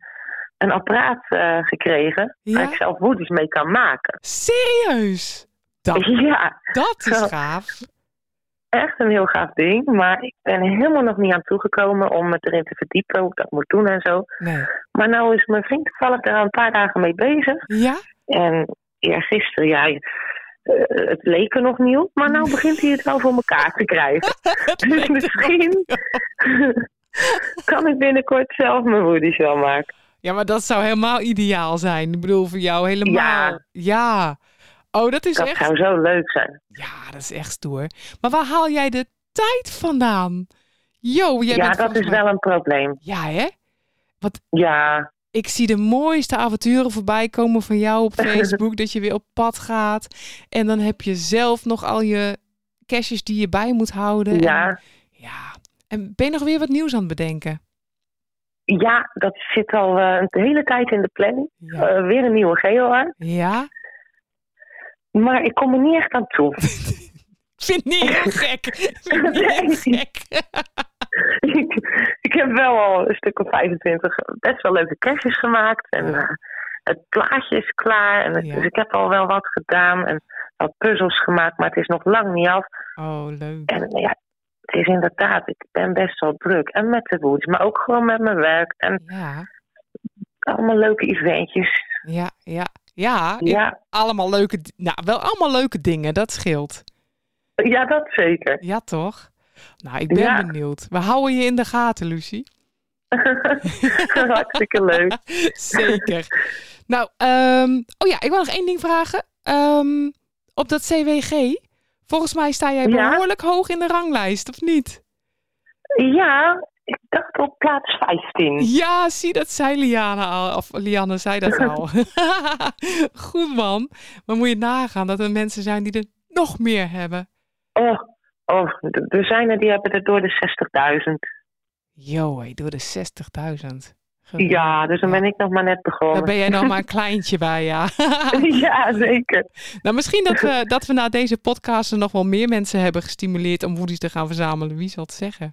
Speaker 3: een apparaat eh, gekregen. Waar
Speaker 2: ja.
Speaker 3: ik zelf Woody's mee kan maken.
Speaker 2: Serieus? Dat,
Speaker 3: Ja,
Speaker 2: dat is
Speaker 3: Ja.
Speaker 2: gaaf.
Speaker 3: echt een heel gaaf ding. Maar ik ben er helemaal nog niet aan toegekomen om me erin te verdiepen. Hoe ik dat moet doen en zo.
Speaker 2: Nee.
Speaker 3: Maar nou is mijn vriend toevallig daar een paar dagen mee bezig.
Speaker 2: Ja,
Speaker 3: En ja, gisteren, ja, eh, het leek er nog nieuw. Maar nou begint hij het wel voor elkaar te krijgen. Dus misschien kan ik binnenkort zelf mijn woedies wel maken.
Speaker 2: ja, maar dat zou helemaal ideaal zijn. Ik bedoel, voor jou helemaal. Ja.
Speaker 3: Ja.
Speaker 2: Oh, dat is
Speaker 3: Dat
Speaker 2: echt.
Speaker 3: zou zo leuk zijn.
Speaker 2: Ja, dat is echt stoer. Maar waar haal jij de tijd vandaan? Yo, jij
Speaker 3: ja,
Speaker 2: bent
Speaker 3: dat
Speaker 2: volgens
Speaker 3: is
Speaker 2: mij-
Speaker 3: wel een probleem.
Speaker 2: Ja, hè?
Speaker 3: Ja,
Speaker 2: Ik zie de mooiste avonturen voorbij komen van jou op Facebook. dat je weer op pad gaat. En dan heb je zelf nog al je caches die je bij moet houden. En,
Speaker 3: ja,
Speaker 2: ja. En ben je nog weer wat nieuws aan het bedenken?
Speaker 3: ja, dat zit al eh, een hele tijd in de planning.
Speaker 2: Ja.
Speaker 3: Eh, weer een nieuwe geo aan.
Speaker 2: Ja?
Speaker 3: Maar ik kom er niet echt aan toe.
Speaker 2: Ik vind het niet heel gek. Ik vind het niet heel gek.
Speaker 3: ik, ik heb wel al een stuk of 25 best wel leuke kerstjes gemaakt. En eh, het plaatje is klaar. En het-
Speaker 2: Ja.
Speaker 3: Dus ik heb al wel wat gedaan en wat puzzels gemaakt, maar het is nog lang niet af.
Speaker 2: Oh, leuk.
Speaker 3: En nou ja, het is inderdaad, ik ben best wel druk. En met de woods, maar ook gewoon met mijn werk. En
Speaker 2: Ja.
Speaker 3: allemaal leuke eventjes.
Speaker 2: Ja, ja. Ja, ik-
Speaker 3: Ja,
Speaker 2: allemaal leuke, di- nou, wel allemaal leuke dingen, dat scheelt.
Speaker 3: ja dat zeker.
Speaker 2: Ja, toch? Nou, ik ben
Speaker 3: Ja.
Speaker 2: benieuwd. We houden je in de gaten, Lucie.
Speaker 3: Hartstikke leuk.
Speaker 2: Zeker. nou, ehm, oh ja, ik wil nog één ding vragen. Ehm, op dat CWG, volgens mij sta jij
Speaker 3: Ja?
Speaker 2: behoorlijk hoog in de ranglijst, of niet?
Speaker 3: Ja, ik dacht op plaats 15.
Speaker 2: Ja, zie, dat zei Liane al. Of Lianne zei dat al. Goed man. Maar moet je nagaan dat er mensen zijn die er nog meer hebben.
Speaker 4: Oh, oh, d- er zijn er die hebben er door de 60.000.
Speaker 2: Yo, hé, door de 60.000. Geweldig.
Speaker 4: Ja, dus dan ben ik nog maar net
Speaker 2: Daar
Speaker 4: begonnen.
Speaker 2: ben jij nog maar een kleintje bij, ja.
Speaker 4: Ja, zeker.
Speaker 2: nou, misschien dat we, dat we na deze podcast nog wel meer mensen hebben gestimuleerd om woedies te gaan verzamelen. Wie zal het zeggen?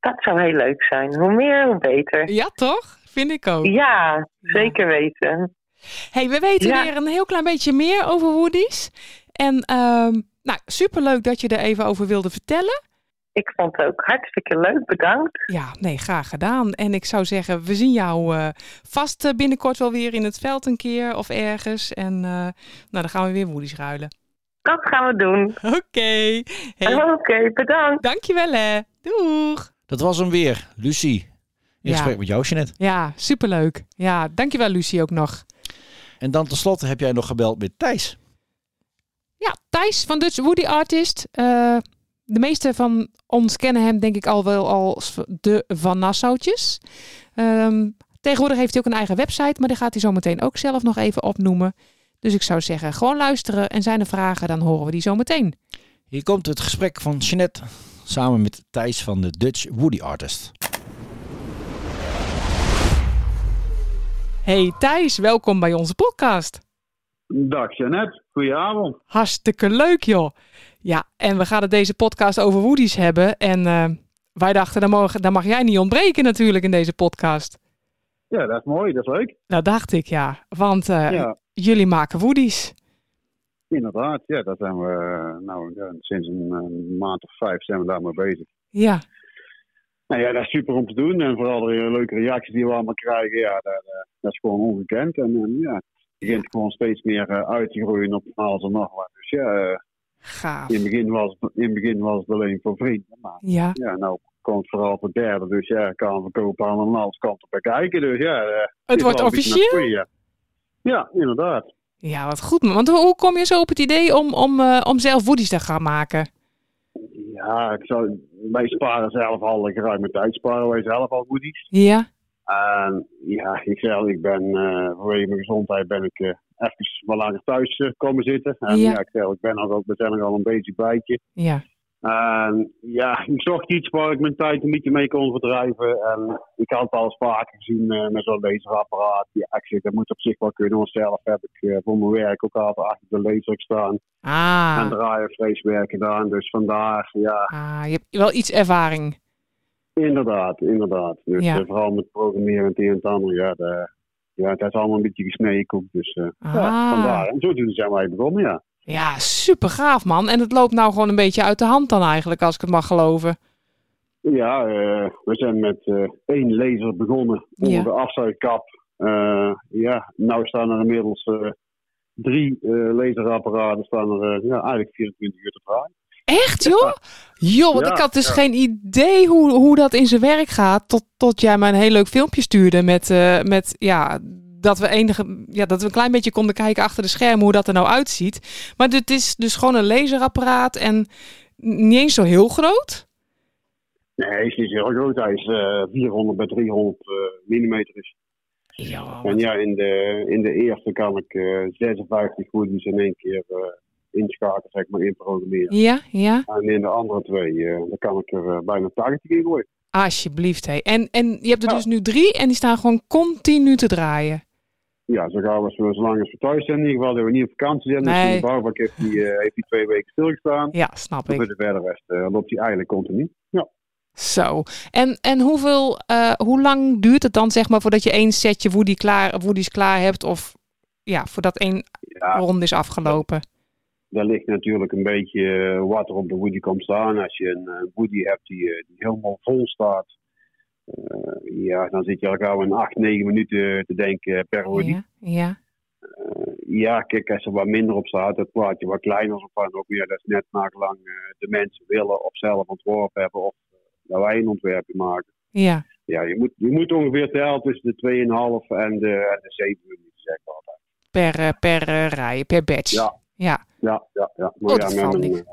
Speaker 4: Dat zou heel leuk zijn. Hoe meer, hoe beter.
Speaker 2: Ja, toch? Vind ik ook.
Speaker 4: Ja, zeker weten.
Speaker 2: Hey, we weten
Speaker 4: Ja.
Speaker 2: weer een heel klein beetje meer over Woody's. En ehm nou, superleuk dat je er even over wilde vertellen.
Speaker 4: Ik vond het ook hartstikke leuk. Bedankt.
Speaker 2: Ja, nee, graag gedaan. En ik zou zeggen, we zien jou eh, vast eh, binnenkort wel weer in het veld een keer of ergens. En eh, nou, dan gaan we weer Woody's ruilen.
Speaker 4: Dat gaan we doen.
Speaker 2: Oké. Hey,
Speaker 4: Oké, bedankt.
Speaker 2: dankjewel hè. Doeg.
Speaker 1: Dat was hem weer, Lucie. In
Speaker 2: Ja.
Speaker 1: gesprek met jou, Jeanette.
Speaker 2: Ja, superleuk. Ja, dankjewel Lucie ook nog.
Speaker 1: En dan tenslotte heb jij nog gebeld met Thijs.
Speaker 2: Ja, Thijs van Dutch Woody Artist. Eh, de meeste van ons kennen hem denk ik al wel als de Van Nassautjes. Ehm, tegenwoordig heeft hij ook een eigen website, maar die gaat hij zometeen ook zelf nog even opnoemen. Dus ik zou zeggen, gewoon luisteren en zijn er vragen, dan horen we die zometeen.
Speaker 1: Hier komt het gesprek van Jeanette samen met Thijs van de Dutch Woody Artist.
Speaker 2: Hey Thijs, welkom bij onze podcast.
Speaker 5: Dag Jeannette, goedenavond.
Speaker 2: Hartstikke leuk joh. Ja, en we gaan het deze podcast over Woody's hebben. En eh, wij dachten, daar mag, daar mag jij niet ontbreken natuurlijk in deze podcast.
Speaker 5: Ja, dat is mooi, dat is leuk.
Speaker 2: Nou dacht ik ja, want eh,
Speaker 5: ja,
Speaker 2: jullie maken Woody's.
Speaker 5: inderdaad. Ja, daar zijn we eh, nou, ja, sinds een, een maand of vijf zijn we daarmee bezig.
Speaker 2: Ja,
Speaker 5: Nou ja, dat is super om te doen. En vooral de eh, leuke reacties die we allemaal krijgen, ja, dat, eh, dat is gewoon ongekend. En, eh, ja, het begint gewoon steeds meer eh, uit te groeien op van alles en nog wat. Dus ja, eh,
Speaker 2: gaaf.
Speaker 5: in, het begin was, het- in het begin was het alleen voor vrienden. Maar
Speaker 2: Ja,
Speaker 5: ja, nou komt het vooral voor derden. Dus ja, kan verkopen aan een andere kant bekijken. Dus ja, eh,
Speaker 2: het
Speaker 5: is
Speaker 2: wordt
Speaker 5: wel een beetje
Speaker 2: officieel.
Speaker 5: naar het goeie, ja. Ja, inderdaad.
Speaker 2: Ja, wat goed. man. Want hoe- hoe kom je zo op het idee om, om, eh, om zelf Woody's te gaan maken?
Speaker 5: Ja, ik zou, wij sparen zelf al geruime tijd, sparen wij zelf al goodies.
Speaker 2: Ja,
Speaker 5: En ja, ik zelf, ik ben eh, vanwege mijn gezondheid ben ik eh, even wat langer thuis eh, komen zitten. En
Speaker 2: Ja.
Speaker 5: ja, ik zelf, ik ben nog, ook- we zijn nog al een beetje bijtje.
Speaker 2: ja,
Speaker 5: En ja, ik zocht iets waar ik mijn tijd een beetje mee kon verdrijven. En ik had het al eens vaker gezien eh, met zo'n laserapparaat. Ja, ik zeg, dat moet op zich wel kunnen, want zelf heb ik eh, voor mijn werk ook altijd achter de laser staan. En
Speaker 2: ah,
Speaker 5: draaien, vleeswerk gedaan, dus vandaar, ja...
Speaker 2: ah, je hebt wel iets ervaring.
Speaker 5: Inderdaad, inderdaad. Dus
Speaker 2: Ja.
Speaker 5: eh, vooral met programmeren en het een en het ander. Ja, de, ja, het is allemaal een beetje gesneden koek. Dus eh, ja,
Speaker 2: Ah.
Speaker 5: vandaar. En zodoende zijn wij begonnen, ja.
Speaker 2: Ja, super gaaf man. En het loopt nou gewoon een beetje uit de hand dan eigenlijk, als ik het mag geloven.
Speaker 5: Ja, eh, we zijn met eh, één laser begonnen onder
Speaker 2: Ja.
Speaker 5: de afzuigkap. Eh, ja, nu staan er inmiddels eh, drie eh, laserapparaten staan er, eh, ja, eigenlijk 24 uur te draaien.
Speaker 2: Echt joh? Joh, want
Speaker 5: Ja,
Speaker 2: ik had dus
Speaker 5: ja.
Speaker 2: geen idee hoe, hoe dat in zijn werk gaat. Tot, tot jij mij een heel leuk filmpje stuurde met, eh, met ja, dat we enige, ja, dat we een klein beetje konden kijken achter de schermen hoe dat er nou uitziet. Maar dit is dus gewoon een laserapparaat en niet eens zo heel groot.
Speaker 5: Nee, hij is niet heel groot. Hij is eh, 400 bij 300 millimeter.
Speaker 2: Ja,
Speaker 5: En ja, in de, in de eerste kan ik eh 56 goodies in één keer eh, inschakelen, zeg maar, inprogrammeren.
Speaker 2: ja, ja.
Speaker 5: En in de andere twee, eh, dan kan ik er eh, bijna 80 in gooien.
Speaker 2: Alsjeblieft. Hé. En, en je hebt er
Speaker 5: Ja.
Speaker 2: dus nu drie en die staan gewoon continu te draaien.
Speaker 5: Ja, zo gaan we zo- zolang als we thuis zijn. In ieder geval dat we niet op vakantie zijn.
Speaker 2: Nee.
Speaker 5: Dus de bouwvak heeft die, eh, heeft die twee weken stilgestaan.
Speaker 2: Ja, snap
Speaker 5: Maar
Speaker 2: ik.
Speaker 5: voor de verder rest eh, loopt die eigenlijk continu. Ja.
Speaker 2: Zo. En, en hoeveel, eh, hoe lang duurt het dan, zeg maar, voordat je één setje woody klaar, woodies klaar hebt? Of ja, voordat één
Speaker 5: ja,
Speaker 2: ronde is afgelopen?
Speaker 5: daar ligt natuurlijk een beetje eh, wat er op de woody komt staan. Als je een eh, woody hebt die, eh, die helemaal vol staat. eh, ja, dan zit je al gauw in 8, 9 minuten te denken eh, per woody.
Speaker 2: Ja, ja,
Speaker 5: Ja, kijk, als er wat minder op staat, het plaatje wat kleiner is van ook meer. Dat is net naar gelang eh, de mensen willen of zelf ontworpen hebben of eh, dat wij een ontwerpje maken.
Speaker 2: ja.
Speaker 5: Ja, je moet, je moet ongeveer tellen tussen de 2,5 en de, en de 7 minuten, zeg maar. altijd.
Speaker 2: Per, eh, per eh, rij, per batch.
Speaker 5: Ja.
Speaker 2: Ja,
Speaker 5: Ja, ja, ja. Maar
Speaker 2: Oh, dat
Speaker 5: ja,
Speaker 2: valt
Speaker 5: met mijn,
Speaker 2: niet.
Speaker 5: eh,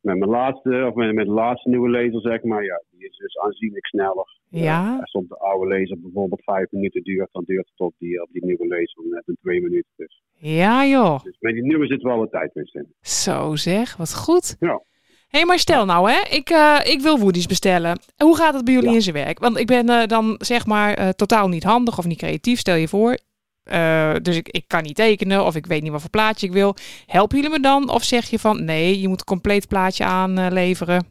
Speaker 5: met mijn laatste, of met, met de laatste nieuwe laser, zeg maar, ja, die is dus aanzienlijk sneller.
Speaker 2: Ja.
Speaker 5: Eh, als op eh, de oude laser bijvoorbeeld 5 minuten duurt, dan duurt het op die, op die nieuwe laser net een 2 minuten. Dus.
Speaker 2: ja. Ja joh.
Speaker 5: Dus met die nummer zit wel wat tijdwinst in.
Speaker 2: Zo zeg, wat goed.
Speaker 5: Ja.
Speaker 2: Hé, maar stel nou hè, ik, eh, ik wil Woody's bestellen. Hoe gaat het bij jullie
Speaker 5: Ja.
Speaker 2: in zijn werk? Want ik ben eh, dan zeg maar eh, totaal niet handig of niet creatief, stel je voor. Eh, dus ik, ik kan niet tekenen of ik weet niet wat voor plaatje ik wil. Helpen jullie me dan? Of zeg je van nee, je moet een compleet plaatje aanleveren?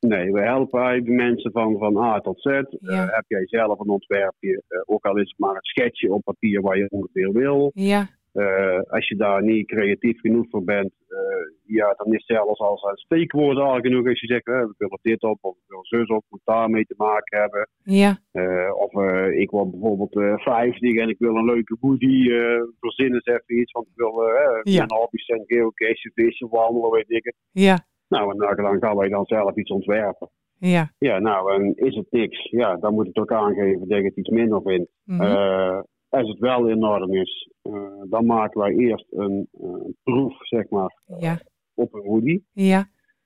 Speaker 5: Nee, we helpen eigenlijk de mensen van, van A tot Z.
Speaker 2: Ja.
Speaker 5: Heb jij zelf een ontwerpje, eh, ook al is het maar een sketje op papier waar je ongeveer wil.
Speaker 2: ja.
Speaker 5: Eh, als je daar niet creatief genoeg voor bent, eh, ja, dan is zelfs als een steekwoord al genoeg als je zegt, eh, we willen dit op, of we willen zus op, moet daarmee te maken hebben.
Speaker 2: Ja,
Speaker 5: Eh, of eh, ik wil bijvoorbeeld eh 50 en ik wil een leuke hoodie, eh, verzin eens even iets, want ik wil eh,
Speaker 2: Ja.
Speaker 5: een hobby zijn, geocachen, vissen, wandelen, weet ik het.
Speaker 2: ja,
Speaker 5: Nou, en dan gaan wij dan zelf iets ontwerpen.
Speaker 2: ja.
Speaker 5: Ja, nou, en is het niks, ja, dan moet ik ook aangeven dat ik het iets minder vind.
Speaker 2: Mhm.
Speaker 5: Eh, als het wel in orde is, eh, dan maken wij eerst een, eh, een proef, zeg maar,
Speaker 2: ja,
Speaker 5: op een hoodie.
Speaker 2: ja,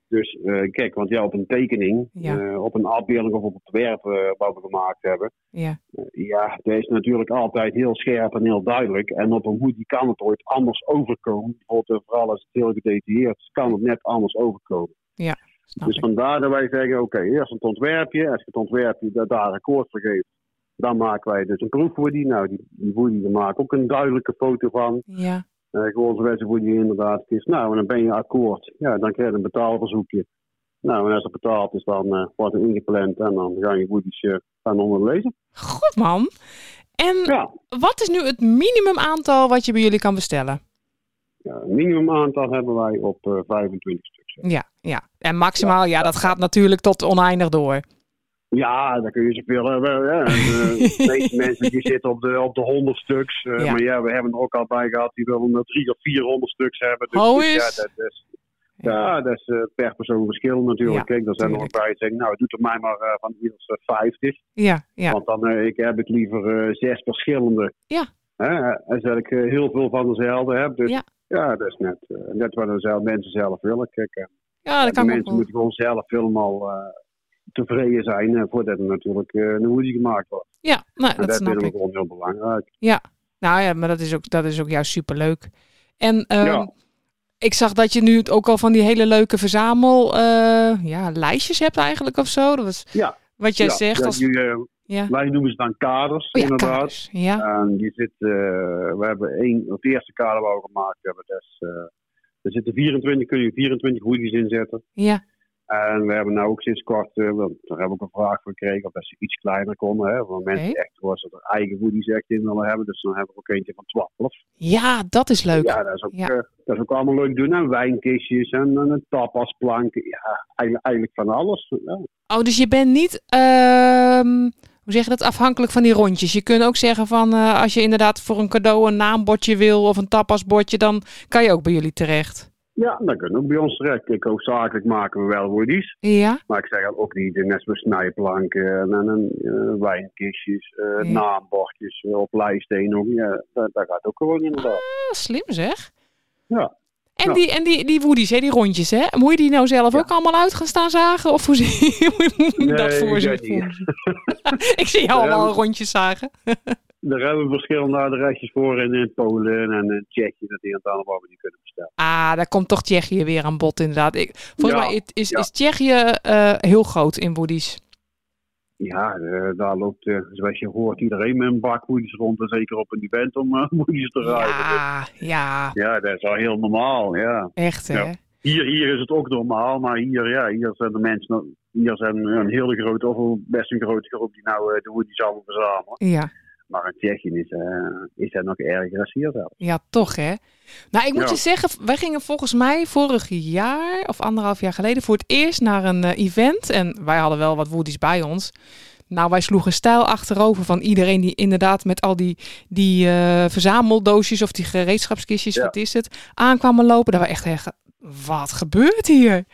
Speaker 5: Dus eh, kijk, want ja, op een tekening,
Speaker 2: Ja.
Speaker 5: eh, op een afbeelding of op het werk eh, wat we gemaakt hebben,
Speaker 2: ja,
Speaker 5: eh, ja, dat is natuurlijk altijd heel scherp en heel duidelijk. En op een hoodie kan het ooit anders overkomen. Bijvoorbeeld, eh, vooral als het heel gedetailleerd is, kan het net anders overkomen.
Speaker 2: snap
Speaker 5: Dus
Speaker 2: ik.
Speaker 5: vandaar dat wij zeggen, oké, eerst een ontwerpje. Als je het ontwerpje da- daar akkoord voor geeft, dan maken wij dus een proefwoody. Nou, die, die woody daar maakt ook een duidelijke foto van.
Speaker 2: Ja,
Speaker 5: Eh gewoon zoals een woody inderdaad is. Nou, en dan ben je akkoord. Ja, dan krijg je een betaalverzoekje. Nou, en als het betaald is, dan eh, wordt het ingepland en dan ga je woodies eh, gaan onderlezen.
Speaker 2: goed man. En
Speaker 5: Ja,
Speaker 2: wat is nu het minimum aantal wat je bij jullie kan bestellen?
Speaker 5: ja een minimum aantal hebben wij op eh, 25 stuks.
Speaker 2: Ja, ja. En maximaal, ja, dat gaat natuurlijk tot oneindig door.
Speaker 5: Ja, dan kun je zoveel hebben. Ja. eh, De meeste mensen die zitten op de, op de 100 stuks. eh,
Speaker 2: Ja.
Speaker 5: Maar ja, we hebben er ook al bij gehad die willen er 300 of 400 stuks hebben. Dus,
Speaker 2: Oh,
Speaker 5: dus
Speaker 2: is.
Speaker 5: ja, dat is, ja, dat is eh, per persoon verschil natuurlijk.
Speaker 2: Ja,
Speaker 5: Kijk, dan zijn er ook
Speaker 2: tuurlijk.
Speaker 5: bij die zeggen, nou, doe er mij maar eh, van ieder soort 50.
Speaker 2: Ja, ja,
Speaker 5: Want dan eh, ik heb ik liever eh, zes verschillende.
Speaker 2: Ja.
Speaker 5: Hè, en dat ik eh, heel veel van dezelfde heb. Dus,
Speaker 2: Ja.
Speaker 5: ja. dat is net, eh, net wat de zelf, mensen zelf willen. Kijk, eh,
Speaker 2: ja, dat
Speaker 5: de
Speaker 2: kan ik ook
Speaker 5: mensen
Speaker 2: wel.
Speaker 5: moeten gewoon zelf helemaal eh, tevreden zijn eh, voordat er natuurlijk eh, een hoodie gemaakt wordt.
Speaker 2: Ja, nou,
Speaker 5: En
Speaker 2: dat
Speaker 5: dat
Speaker 2: snap
Speaker 5: vinden we
Speaker 2: ik.
Speaker 5: gewoon heel belangrijk.
Speaker 2: Nou ja, maar dat is ook, dat is ook juist superleuk. En ehm,
Speaker 5: Ja.
Speaker 2: ik zag dat je nu het ook al van die hele leuke verzamel eh, ja, lijstjes hebt eigenlijk of zo. Dat was
Speaker 5: Ja.
Speaker 2: wat jij
Speaker 5: Ja,
Speaker 2: zegt
Speaker 5: ja,
Speaker 2: als...
Speaker 5: die, eh,
Speaker 2: Ja.
Speaker 5: Wij noemen ze dan
Speaker 2: Oh
Speaker 5: kaders,
Speaker 2: ja,
Speaker 5: inderdaad.
Speaker 2: kaders. Ja,
Speaker 5: En die zit, eh, we hebben één, het eerste kader waar we gemaakt hebben, dat is, eh, er zitten 24, kun je 24 hoodies inzetten.
Speaker 2: ja,
Speaker 5: En we hebben nou ook sinds kort, eh, want daar heb ik een vraag voor gekregen, of dat ze iets kleiner konden. Hè, voor mensen die echt hoor, ze er eigen hoodies echt in willen hebben. Dus dan hebben we ook eentje van 12.
Speaker 2: ja, dat is leuk.
Speaker 5: Ja, dat is ook,
Speaker 2: Ja.
Speaker 5: eh, dat is ook allemaal leuk doen. En wijnkistjes en, en een tapasplank. Ja, eigenlijk, eigenlijk van alles. Ja.
Speaker 2: Oh, dus je bent niet, ehm, hoe zeg je dat, afhankelijk van die rondjes. Je kunt ook zeggen van, eh, als je inderdaad voor een cadeau een naambordje wil of een tapasbordje, dan kan je ook bij jullie terecht.
Speaker 5: ja, dat kunnen ook bij ons terecht. Ik hoofdzakelijk maken we wel woodies.
Speaker 2: Ja,
Speaker 5: Maar ik zeg ook niet, eh, net zoals snijplanken en, en, en, eh, wijnkistjes, eh,
Speaker 2: Ja.
Speaker 5: naambordjes eh, op lijsten. Ook, ja, dat, dat gaat ook gewoon inderdaad.
Speaker 2: Ah, slim zeg.
Speaker 5: Ja.
Speaker 2: En,
Speaker 5: Ja.
Speaker 2: Die, en die, die woodies, hè, die rondjes, hè? moet je die nou zelf ook allemaal uit gaan staan zagen? Of hoe zie je hoe moet ik dat
Speaker 5: Nee,
Speaker 2: voor
Speaker 5: ik
Speaker 2: zich
Speaker 5: weet niet.
Speaker 2: voorstellen? Ik zie jou allemaal rondjes zagen.
Speaker 5: Daar hebben we verschillende adresjes voor in, in Polen en in Tsjechië. Dat die en het ander waar we die kunnen bestellen.
Speaker 2: Ah, daar komt toch Tsjechië weer aan bod, inderdaad. Ik, volgens
Speaker 5: Ja,
Speaker 2: mij is, is,
Speaker 5: ja.
Speaker 2: is Tsjechië eh, heel groot in woodies.
Speaker 5: Ja, eh, daar loopt, eh, zoals je hoort, iedereen met een bak woedies rond. En zeker op een event om eh woedies te ruilen.
Speaker 2: Ja, ja,
Speaker 5: Ja, dat is al heel normaal, ja.
Speaker 2: echt hè.
Speaker 5: Ja. Hier, hier is het ook normaal, maar hier, ja, hier zijn de mensen... nog- Hier zijn een hele grote, of best een grote groep die nou eh, de woedies allemaal verzamelen.
Speaker 2: Ja,
Speaker 5: Maar in Tsjechië is, eh, is dat nog erger dan hier zelf.
Speaker 2: ja, toch hè. Nou, ik moet
Speaker 5: Ja.
Speaker 2: je zeggen, wij gingen volgens mij vorig jaar of anderhalf jaar geleden voor het eerst naar een eh, event. En wij hadden wel wat woodies bij ons. Nou, wij sloegen stijl achterover van iedereen die inderdaad met al die, die eh, verzameldoosjes of die gereedschapskistjes,
Speaker 5: Ja.
Speaker 2: wat is het, aankwamen lopen. Daar we echt echt, wat gebeurt hier?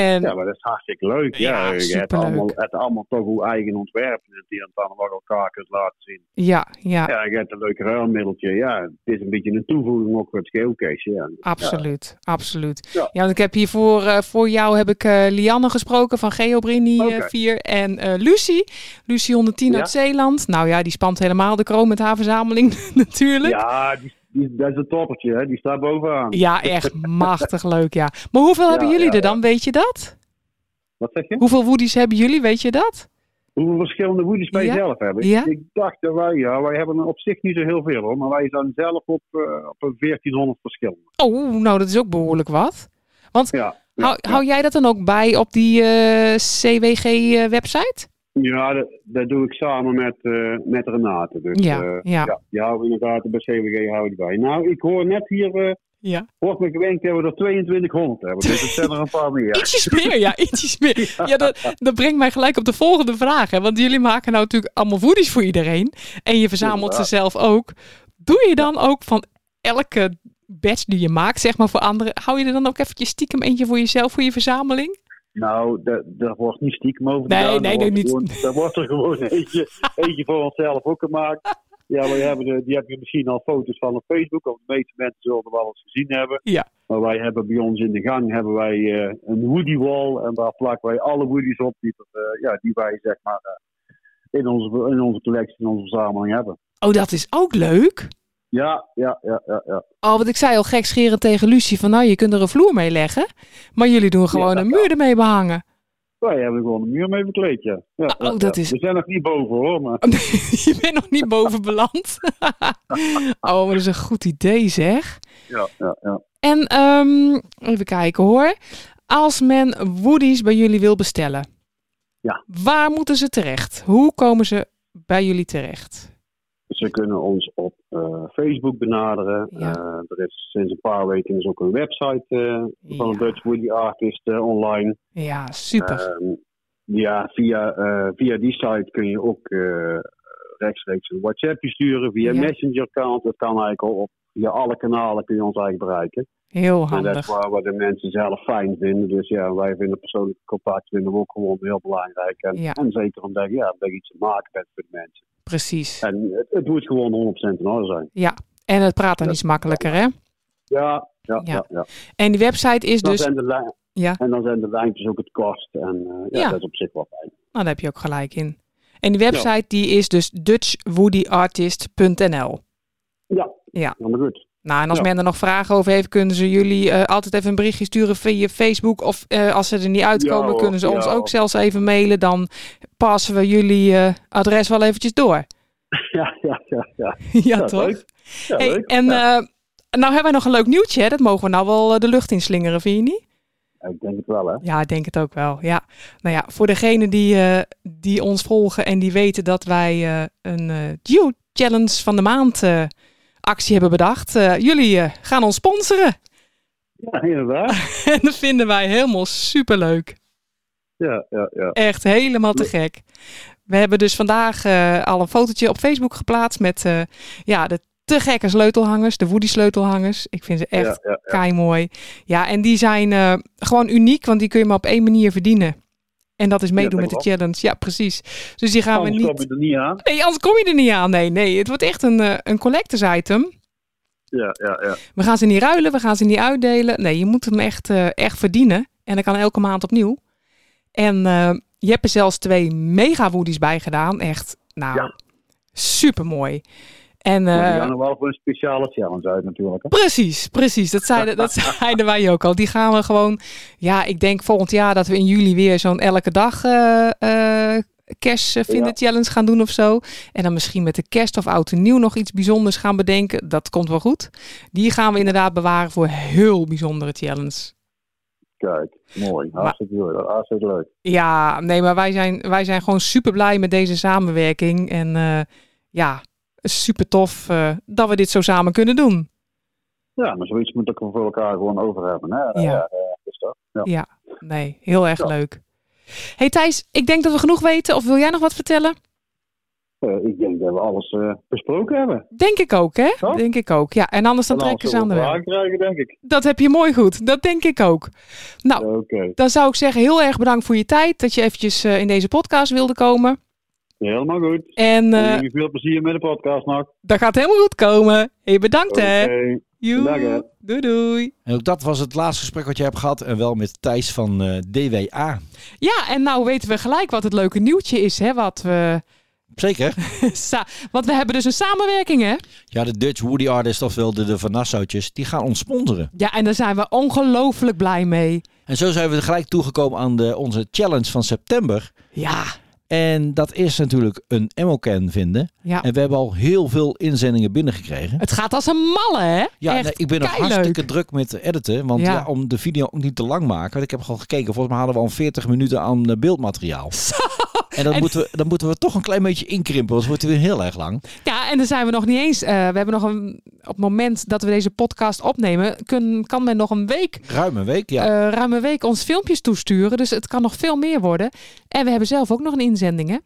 Speaker 2: En
Speaker 5: Ja, maar dat is hartstikke leuk.
Speaker 2: Ja,
Speaker 5: Ja, je hebt
Speaker 2: superleuk.
Speaker 5: allemaal, het allemaal toch uw eigen ontwerp. Dat die het dan wel elkaar kunt laten zien.
Speaker 2: ja, ja,
Speaker 5: Ja, je hebt een leuk ruilmiddeltje. Ja, het is een beetje een toevoeging ook voor het geocache. Ja.
Speaker 2: Absoluut, absoluut. Ja.
Speaker 5: Ja.
Speaker 2: want ik heb hier voor, eh, voor jou heb ik eh, Lianne gesproken van Geobrini eh,
Speaker 5: Oké.
Speaker 2: 4 en eh Lucie. Lucie 110
Speaker 5: Ja.
Speaker 2: uit Zeeland. Nou ja, die spant helemaal de kroon met haar verzameling natuurlijk.
Speaker 5: Ja, die, die, dat is het toppertje, hè? die staat bovenaan.
Speaker 2: Ja, echt machtig leuk, ja. Maar hoeveel
Speaker 5: Ja,
Speaker 2: hebben jullie
Speaker 5: ja,
Speaker 2: er dan, weet je dat?
Speaker 5: Wat zeg je?
Speaker 2: Hoeveel woodies hebben jullie, weet je dat?
Speaker 5: Hoeveel verschillende woedies wij
Speaker 2: Ja.
Speaker 5: zelf hebben? Ik-
Speaker 2: Ja.
Speaker 5: Ik dacht dat wij, ja, wij hebben er op zich niet zo heel veel hoor, maar wij zijn zelf op, eh, op een 1400 verschillende.
Speaker 2: Oh, nou, dat is ook behoorlijk wat.
Speaker 5: Ja. Ja,
Speaker 2: Hou,
Speaker 5: ja.
Speaker 2: hou jij dat dan ook bij op die eh, CWG-website?
Speaker 5: Ja, dat, dat doe ik samen met, eh, met Renate. Dus,
Speaker 2: Ja,
Speaker 5: eh,
Speaker 2: ja.
Speaker 5: ja, ja, inderdaad, bij CWG houden wij. Nou, ik hoor net hier, eh,
Speaker 2: Ja.
Speaker 5: wordt me gewenkt dat we er 2200 hebben. Dus het zijn er een paar meer.
Speaker 2: Ietsjes meer, ja, ietsjes meer. Ja, dat, dat brengt mij gelijk op de volgende vraag. Hè? Want jullie maken nou natuurlijk allemaal woedies voor iedereen. En je verzamelt ze
Speaker 5: Inderdaad.
Speaker 2: zelf ook. Doe je dan ook van elke batch die je maakt, zeg maar voor anderen, hou je er dan ook eventjes stiekem eentje voor jezelf, voor je verzameling?
Speaker 5: Nou, dat, dat wordt niet stiekem over
Speaker 2: Nee,
Speaker 5: gedaan.
Speaker 2: nee,
Speaker 5: Daar
Speaker 2: nee,
Speaker 5: wordt gewoon- Daar wordt er gewoon eentje, eentje voor onszelf ook gemaakt. Ja, we hebben, de- die heb je misschien al foto's van op Facebook. Want de meeste mensen zullen er wel eens gezien hebben.
Speaker 2: Ja.
Speaker 5: Maar wij hebben bij ons in de gang hebben wij, eh, een woody wall. En daar plakken wij alle woodies op die, er, eh, ja, die wij zeg maar, eh, in, onze, in onze collectie, in onze verzameling hebben.
Speaker 2: Oh, dat is ook leuk.
Speaker 5: Ja, ja, ja, ja. ja.
Speaker 2: Oh, want ik zei al gekscherend tegen Lucie van nou, je kunt er een vloer mee leggen. Maar jullie doen gewoon
Speaker 5: dat
Speaker 2: een muur ermee behangen.
Speaker 5: Wij hebben gewoon een muur mee bekleed, ja. ja,
Speaker 2: Ah,
Speaker 5: ja,
Speaker 2: oh, dat
Speaker 5: ja.
Speaker 2: is-
Speaker 5: We zijn nog niet boven hoor, maar...
Speaker 2: je bent nog niet boven beland. oh, maar dat is een goed idee zeg.
Speaker 5: Ja, ja, ja.
Speaker 2: En ehm, even kijken hoor. Als men woodies bij jullie wil bestellen.
Speaker 5: Ja.
Speaker 2: Waar moeten ze terecht? Hoe komen ze bij jullie terecht?
Speaker 5: Ze kunnen ons op eh, Facebook benaderen.
Speaker 2: Ja.
Speaker 5: Eh, er is sinds een paar weken is ook een website eh, van
Speaker 2: Ja.
Speaker 5: de Dutch Woody Artist eh, online.
Speaker 2: Ja, super.
Speaker 5: Ehm, ja, via, eh, via die site kun je ook eh, rechtstreeks een WhatsAppje sturen via
Speaker 2: Ja.
Speaker 5: Messenger-account. Dat kan eigenlijk al op via alle kanalen kun je ons eigenlijk bereiken.
Speaker 2: Heel
Speaker 5: En dat is
Speaker 2: handig.
Speaker 5: waar we de mensen zelf fijn vinden. Dus ja, wij vinden persoonlijk contact vinden we ook gewoon heel belangrijk. En,
Speaker 2: Ja.
Speaker 5: en zeker omdat je, ja, omdat je iets te maken bent voor de mensen.
Speaker 2: Precies.
Speaker 5: En het, het moet gewoon 100% in orde zijn.
Speaker 2: En het praat dan
Speaker 5: dat-
Speaker 2: iets makkelijker, hè?
Speaker 5: Ja, ja,
Speaker 2: Ja.
Speaker 5: ja. ja,
Speaker 2: En die website is
Speaker 5: Dan
Speaker 2: dus.
Speaker 5: zijn de lijn-
Speaker 2: Ja.
Speaker 5: En dan zijn de lijntjes ook het kost. En eh, ja,
Speaker 2: Ja.
Speaker 5: dat is op zich wel fijn.
Speaker 2: Nou, daar heb je ook gelijk in. En die website die is dus dutchwoodyartist.nl.
Speaker 5: Ja,
Speaker 2: Ja.
Speaker 5: helemaal goed.
Speaker 2: Nou, en als
Speaker 5: Ja.
Speaker 2: men er nog vragen over heeft, kunnen ze jullie eh, altijd even een berichtje sturen via Facebook. Of eh, als ze er niet
Speaker 5: Ja,
Speaker 2: uitkomen,
Speaker 5: hoor.
Speaker 2: kunnen ze ons
Speaker 5: Ja,
Speaker 2: ook
Speaker 5: hoor.
Speaker 2: zelfs even mailen. Dan passen we jullie eh, adres wel eventjes door.
Speaker 5: Ja, ja, ja. ja.
Speaker 2: ja,
Speaker 5: Ja,
Speaker 2: toch?
Speaker 5: leuk. ja
Speaker 2: Hey,
Speaker 5: leuk.
Speaker 2: en
Speaker 5: Ja,
Speaker 2: eh, nou hebben wij nog een leuk nieuwtje, hè? Dat mogen we nou wel eh, de lucht inslingeren, vind je niet?
Speaker 5: Ik denk het wel, hè.
Speaker 2: Ja, ik denk het ook wel. Ja. Nou ja, voor degenen die, eh, die ons volgen en die weten dat wij eh, een eh, Geo Challenge van de maand eh, actie hebben bedacht. eh, jullie eh, gaan ons sponsoren.
Speaker 5: Ja, inderdaad.
Speaker 2: en dat vinden wij helemaal superleuk.
Speaker 5: Ja, ja, ja.
Speaker 2: Echt helemaal te gek. We hebben dus vandaag eh, al een fotootje op Facebook geplaatst met eh, ja, de te gekke sleutelhangers, de Woody sleutelhangers. Ik vind ze echt
Speaker 5: Ja, ja, ja.
Speaker 2: Kei mooi. Ja, en die zijn eh, gewoon uniek, want die kun je maar op één manier verdienen. En dat is meedoen
Speaker 5: dat
Speaker 2: met de challenge. Ja, precies. Dus die gaan
Speaker 5: Anders
Speaker 2: we
Speaker 5: kom
Speaker 2: niet.
Speaker 5: je er niet aan.
Speaker 2: Nee, anders kom je er niet aan. Nee, nee. Het wordt echt een, eh, een collectors item.
Speaker 5: Ja, ja, ja.
Speaker 2: We gaan ze niet ruilen, we gaan ze niet uitdelen. Nee, je moet hem echt, eh, echt verdienen. En dat kan elke maand opnieuw. En eh, je hebt er zelfs twee mega woodies bij gedaan. Echt, nou,
Speaker 5: Ja.
Speaker 2: super mooi. En
Speaker 5: Maar die
Speaker 2: eh,
Speaker 5: gaan er wel voor een speciale challenge uit natuurlijk, hè.
Speaker 2: Precies, precies. Dat zeiden, dat zeiden wij ook al. Die gaan we gewoon. Ja, ik denk volgend jaar dat we in juli weer zo'n elke dag eh, eh, kerst eh, vinden challenge gaan doen of zo. En dan misschien met de kerst of oud en nieuw nog iets bijzonders gaan bedenken. Dat komt wel goed. Die gaan we inderdaad bewaren voor heel bijzondere challenge.
Speaker 5: Kijk, mooi. Hartstikke, leuk. Hartstikke leuk.
Speaker 2: Ja, nee, maar wij zijn, wij zijn gewoon super blij met deze samenwerking. En eh, ja, super tof eh, dat we dit zo samen kunnen doen.
Speaker 5: Ja, maar zoiets moet ik er voor elkaar gewoon over hebben, hè.
Speaker 2: Ja.
Speaker 5: is dat. Ja.
Speaker 2: Nee, heel erg
Speaker 5: Ja.
Speaker 2: leuk. Hey Thijs, ik denk dat we genoeg weten. Of wil jij nog wat vertellen?
Speaker 5: Eh, ik denk dat we alles eh, besproken hebben.
Speaker 2: Denk ik ook, hè?
Speaker 5: Ja.
Speaker 2: Denk ik ook. Ja, en anders dan
Speaker 5: En
Speaker 2: trekken ze aan
Speaker 5: zullen
Speaker 2: de
Speaker 5: we
Speaker 2: weg.
Speaker 5: vragen krijgen, denk ik.
Speaker 2: Dat heb je mooi goed. Dat denk ik ook. Nou,
Speaker 5: Oké.
Speaker 2: dan zou ik zeggen heel erg bedankt voor je tijd. Dat je eventjes eh, in deze podcast wilde komen.
Speaker 5: Helemaal goed.
Speaker 2: En eh
Speaker 5: En jullie veel plezier met de podcast nog.
Speaker 2: dat gaat helemaal goed komen. Hey, bedankt hè.
Speaker 5: Oké.
Speaker 2: Joe.
Speaker 5: Dag, hè.
Speaker 2: Doei doei.
Speaker 1: En ook dat was het laatste gesprek wat je hebt gehad. En wel met Thijs van eh, DWA.
Speaker 2: Ja, en nou weten we gelijk wat het leuke nieuwtje is, hè? Wat we
Speaker 1: Zeker.
Speaker 2: Sa- Want we hebben dus een samenwerking, hè?
Speaker 1: Ja, de Dutch Woody Artist, ofwel de, de Van Nassautjes, die gaan ons sponsoren.
Speaker 2: Ja, en daar zijn we ongelooflijk blij mee.
Speaker 1: En zo zijn we gelijk toegekomen aan de, onze challenge van september.
Speaker 2: Ja,
Speaker 1: En dat is natuurlijk een Emmocan vinden.
Speaker 2: ja.
Speaker 1: En we hebben al heel veel inzendingen binnengekregen.
Speaker 2: Het gaat als een malle, hè?
Speaker 1: Ja,
Speaker 2: Echt
Speaker 1: nee, ik ben nog
Speaker 2: keileuk.
Speaker 1: hartstikke druk met editen. Want
Speaker 2: Ja.
Speaker 1: ja. om de video ook niet te lang maken. Want ik heb gewoon gekeken. Volgens mij hadden we al 40 minuten aan eh, beeldmateriaal. En, dan,
Speaker 2: En-
Speaker 1: Moeten we, dan moeten we toch een klein beetje inkrimpen. Want het wordt weer heel erg lang.
Speaker 2: Ja, en daar zijn we nog niet eens. eh, we hebben nog een. Op het moment dat we deze podcast opnemen, kun, kan men nog een week,
Speaker 1: Ruim een week, ja.
Speaker 2: eh ruim een week, ons filmpjes toesturen. Dus het kan nog veel meer worden. En we hebben zelf ook nog een inzending, hè?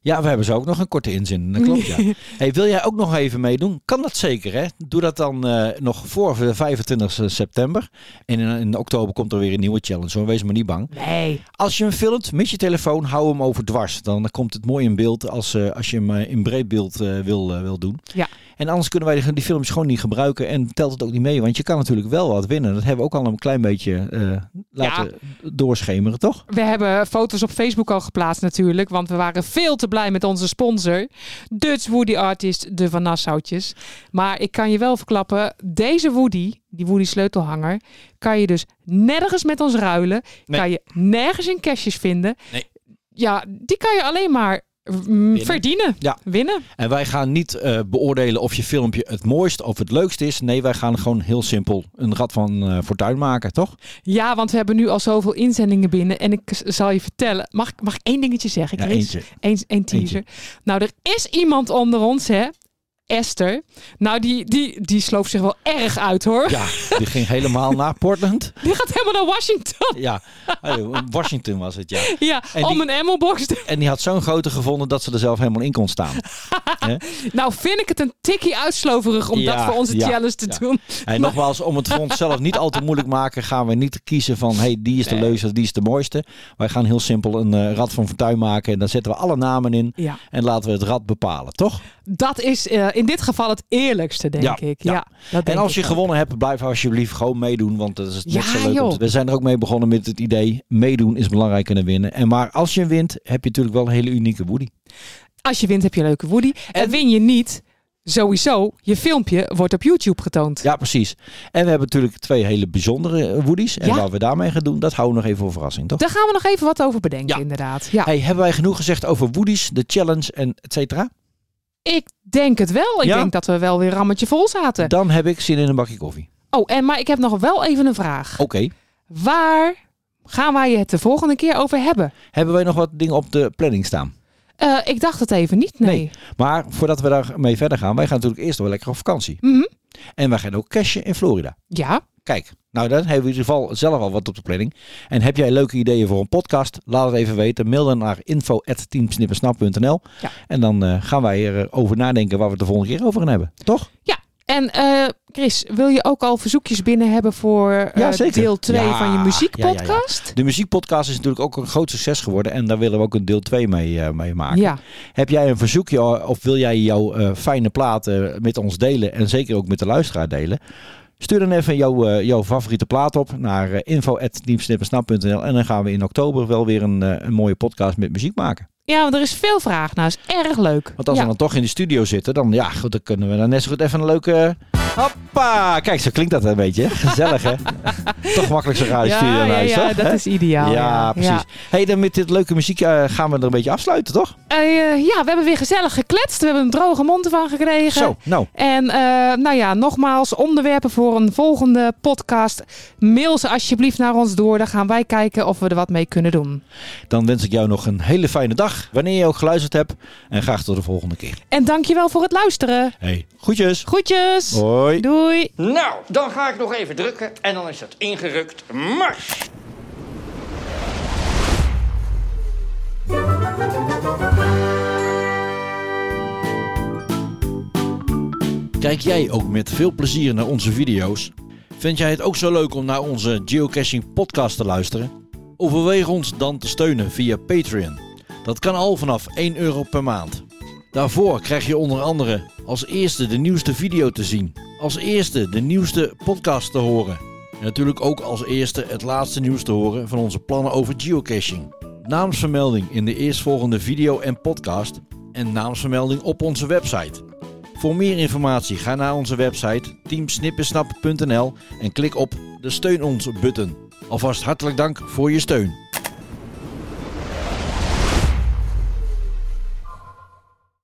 Speaker 1: Ja, we hebben zo ook nog een korte inzin. Dat klopt, ja. Hey, wil jij ook nog even meedoen? Kan dat zeker, hè? Doe dat dan eh, nog voor de 25 september. En in, in oktober komt er weer een nieuwe challenge. Hoor. Wees maar niet bang.
Speaker 2: Nee.
Speaker 1: Als je hem filmt met je telefoon, hou hem over dwars. Dan komt het mooi in beeld als, eh, als je hem eh, in breed beeld eh, wil, eh, wil doen.
Speaker 2: Ja.
Speaker 1: En anders kunnen wij die, die films gewoon niet gebruiken en telt het ook niet mee. Want je kan natuurlijk wel wat winnen. Dat hebben we ook al een klein beetje eh, laten doorschemeren, toch?
Speaker 2: We hebben foto's op Facebook al geplaatst, natuurlijk. Want we waren veel te blij met onze sponsor, Dutch Woody Artist, de Van Nassautjes. Maar ik kan je wel verklappen: deze Woody, die Woody sleutelhanger, kan je dus nergens met ons ruilen.
Speaker 1: Nee.
Speaker 2: Kan je nergens in cashjes vinden.
Speaker 1: Nee.
Speaker 2: Ja, die kan je alleen maar mm, verdienen.
Speaker 1: Ja.
Speaker 2: Winnen.
Speaker 1: En wij gaan niet eh, beoordelen of je filmpje het mooist of het leukst is. Nee, wij gaan gewoon heel simpel een rad van eh, fortuin maken, toch?
Speaker 2: Ja, want we hebben nu al zoveel inzendingen binnen. En ik s- zal je vertellen. Mag, ik- mag ik één dingetje zeggen?
Speaker 1: Ja,
Speaker 2: Chris?
Speaker 1: eentje.
Speaker 2: Eens één teaser. Nou, er is iemand onder ons, hè? Esther. Nou, die, die, die sloopt zich wel erg uit, hoor.
Speaker 1: Ja, die ging helemaal naar Portland.
Speaker 2: Die gaat helemaal naar Washington.
Speaker 1: Ja, Oh, Washington was het, ja.
Speaker 2: Ja,
Speaker 1: En
Speaker 2: om
Speaker 1: die-
Speaker 2: een emmelbox. te-
Speaker 1: En die had zo'n grote gevonden dat ze er zelf helemaal in kon staan.
Speaker 2: Nou, vind ik het een tikkie uitsloverig om dat
Speaker 1: Ja,
Speaker 2: voor onze
Speaker 1: ja,
Speaker 2: challenge te
Speaker 1: ja.
Speaker 2: doen.
Speaker 1: En nogmaals, om het voor onszelf niet al te moeilijk maken, gaan we niet kiezen van hey, die is de leukste, die is de mooiste. Wij gaan heel simpel een eh, rad van fortuin maken en daar zetten we alle namen in
Speaker 2: Ja,
Speaker 1: en laten we het rad bepalen, toch?
Speaker 2: dat is eh, in dit geval het eerlijkste, denk
Speaker 1: Ja,
Speaker 2: ik. Ja,
Speaker 1: ja.
Speaker 2: dat denk
Speaker 1: en als
Speaker 2: ik
Speaker 1: je
Speaker 2: ook.
Speaker 1: gewonnen hebt, blijf alsjeblieft gewoon meedoen, want dat is net
Speaker 2: Ja,
Speaker 1: zo leuk. om
Speaker 2: joh.
Speaker 1: te- We zijn er ook mee begonnen met het idee, meedoen is belangrijker dan winnen. En maar als je wint, heb je natuurlijk wel een hele unieke woody.
Speaker 2: Als je wint, heb je een leuke Woody. En, win je niet, sowieso, je filmpje wordt op YouTube getoond.
Speaker 1: Ja, precies. En we hebben natuurlijk twee hele bijzondere eh, woodies. En
Speaker 2: Ja.
Speaker 1: wat we daarmee gaan doen, dat houden we nog even voor verrassing, toch?
Speaker 2: Daar gaan we nog even wat over bedenken,
Speaker 1: Ja.
Speaker 2: inderdaad. Ja.
Speaker 1: Hey, hebben wij genoeg gezegd over woodies, de challenge en et cetera?
Speaker 2: Ik denk het wel. Ik
Speaker 1: Ja?
Speaker 2: denk dat we wel weer rammetje vol zaten.
Speaker 1: Dan heb ik zin in een bakje koffie.
Speaker 2: Oh, en maar ik heb nog wel even een vraag.
Speaker 1: Oké.
Speaker 2: Waar gaan wij het de volgende keer over hebben?
Speaker 1: Hebben wij nog wat dingen op de planning staan?
Speaker 2: Eh, ik dacht het even niet, nee.
Speaker 1: Nee. Maar voordat we daarmee verder gaan, wij gaan natuurlijk eerst wel lekker op vakantie.
Speaker 2: Mhm.
Speaker 1: En wij gaan ook cashen in Florida.
Speaker 2: Ja,
Speaker 1: Kijk, nou dan hebben we in ieder geval zelf al wat op de planning. En heb jij leuke ideeën voor een podcast? Laat het even weten. Mail dan naar info.teamsnippersnap.nl
Speaker 2: Ja.
Speaker 1: En dan eh, gaan wij erover nadenken waar we het de volgende keer over gaan hebben. Toch?
Speaker 2: ja. En eh, Chris, wil je ook al verzoekjes binnen hebben voor eh,
Speaker 1: Ja, zeker.
Speaker 2: deel 2
Speaker 1: Ja,
Speaker 2: van je muziekpodcast?
Speaker 1: De muziekpodcast is natuurlijk ook een groot succes geworden. En daar willen we ook een deel 2 mee, eh, mee maken.
Speaker 2: ja.
Speaker 1: Heb jij een verzoekje of wil jij jouw eh, fijne platen met ons delen en zeker ook met de luisteraar delen? Stuur dan even jouw, eh, jouw favoriete plaat op naar eh, info.teamsnippersnap.nl en dan gaan we in oktober wel weer een, eh, een mooie podcast met muziek maken.
Speaker 2: ja, want er is veel vraag naar. Is erg leuk.
Speaker 1: Want als
Speaker 2: ja.
Speaker 1: we dan toch in de studio zitten, dan, ja, goed, dan kunnen we dan net zo goed even een leuke... eh, Hoppa! Kijk, zo klinkt dat een beetje. Gezellig, hè? toch makkelijk zo'n
Speaker 2: ja,
Speaker 1: radiostudio
Speaker 2: ja,
Speaker 1: luisteren,
Speaker 2: ja,
Speaker 1: hè?
Speaker 2: dat is
Speaker 1: ja,
Speaker 2: ideaal. ja.
Speaker 1: precies.
Speaker 2: Ja.
Speaker 1: hey, dan met dit leuke muziek eh, gaan we er een beetje afsluiten, toch?
Speaker 2: Eh, ja, we hebben weer gezellig gekletst. We hebben een droge mond ervan gekregen.
Speaker 1: Zo, nou.
Speaker 2: En eh, nou ja, nogmaals, onderwerpen voor een volgende podcast. Mail ze alsjeblieft naar ons door. Dan gaan wij kijken of we er wat mee kunnen doen.
Speaker 1: Dan wens ik jou nog een hele fijne dag. Wanneer je ook geluisterd hebt. En graag tot de volgende keer.
Speaker 2: En dankjewel voor het luisteren.
Speaker 1: Hey, groetjes.
Speaker 2: Groetjes.
Speaker 1: Hoi.
Speaker 2: Doei.
Speaker 6: Nou, dan ga ik nog even drukken en dan is het ingerukt. Mars!
Speaker 1: Kijk jij ook met veel plezier naar onze video's? Vind jij het ook zo leuk om naar onze geocaching podcast te luisteren? Overweeg ons dan te steunen via Patreon. Dat kan al vanaf 1 euro per maand. Daarvoor krijg je onder andere als eerste de nieuwste video te zien, als eerste de nieuwste podcast te horen en natuurlijk ook als eerste het laatste nieuws te horen van onze plannen over geocaching. Naamsvermelding in de eerstvolgende video en podcast en naamsvermelding op onze website. Voor meer informatie ga naar onze website teamsnippensnap.nl en klik op de Steun ons button. Alvast hartelijk dank voor je steun.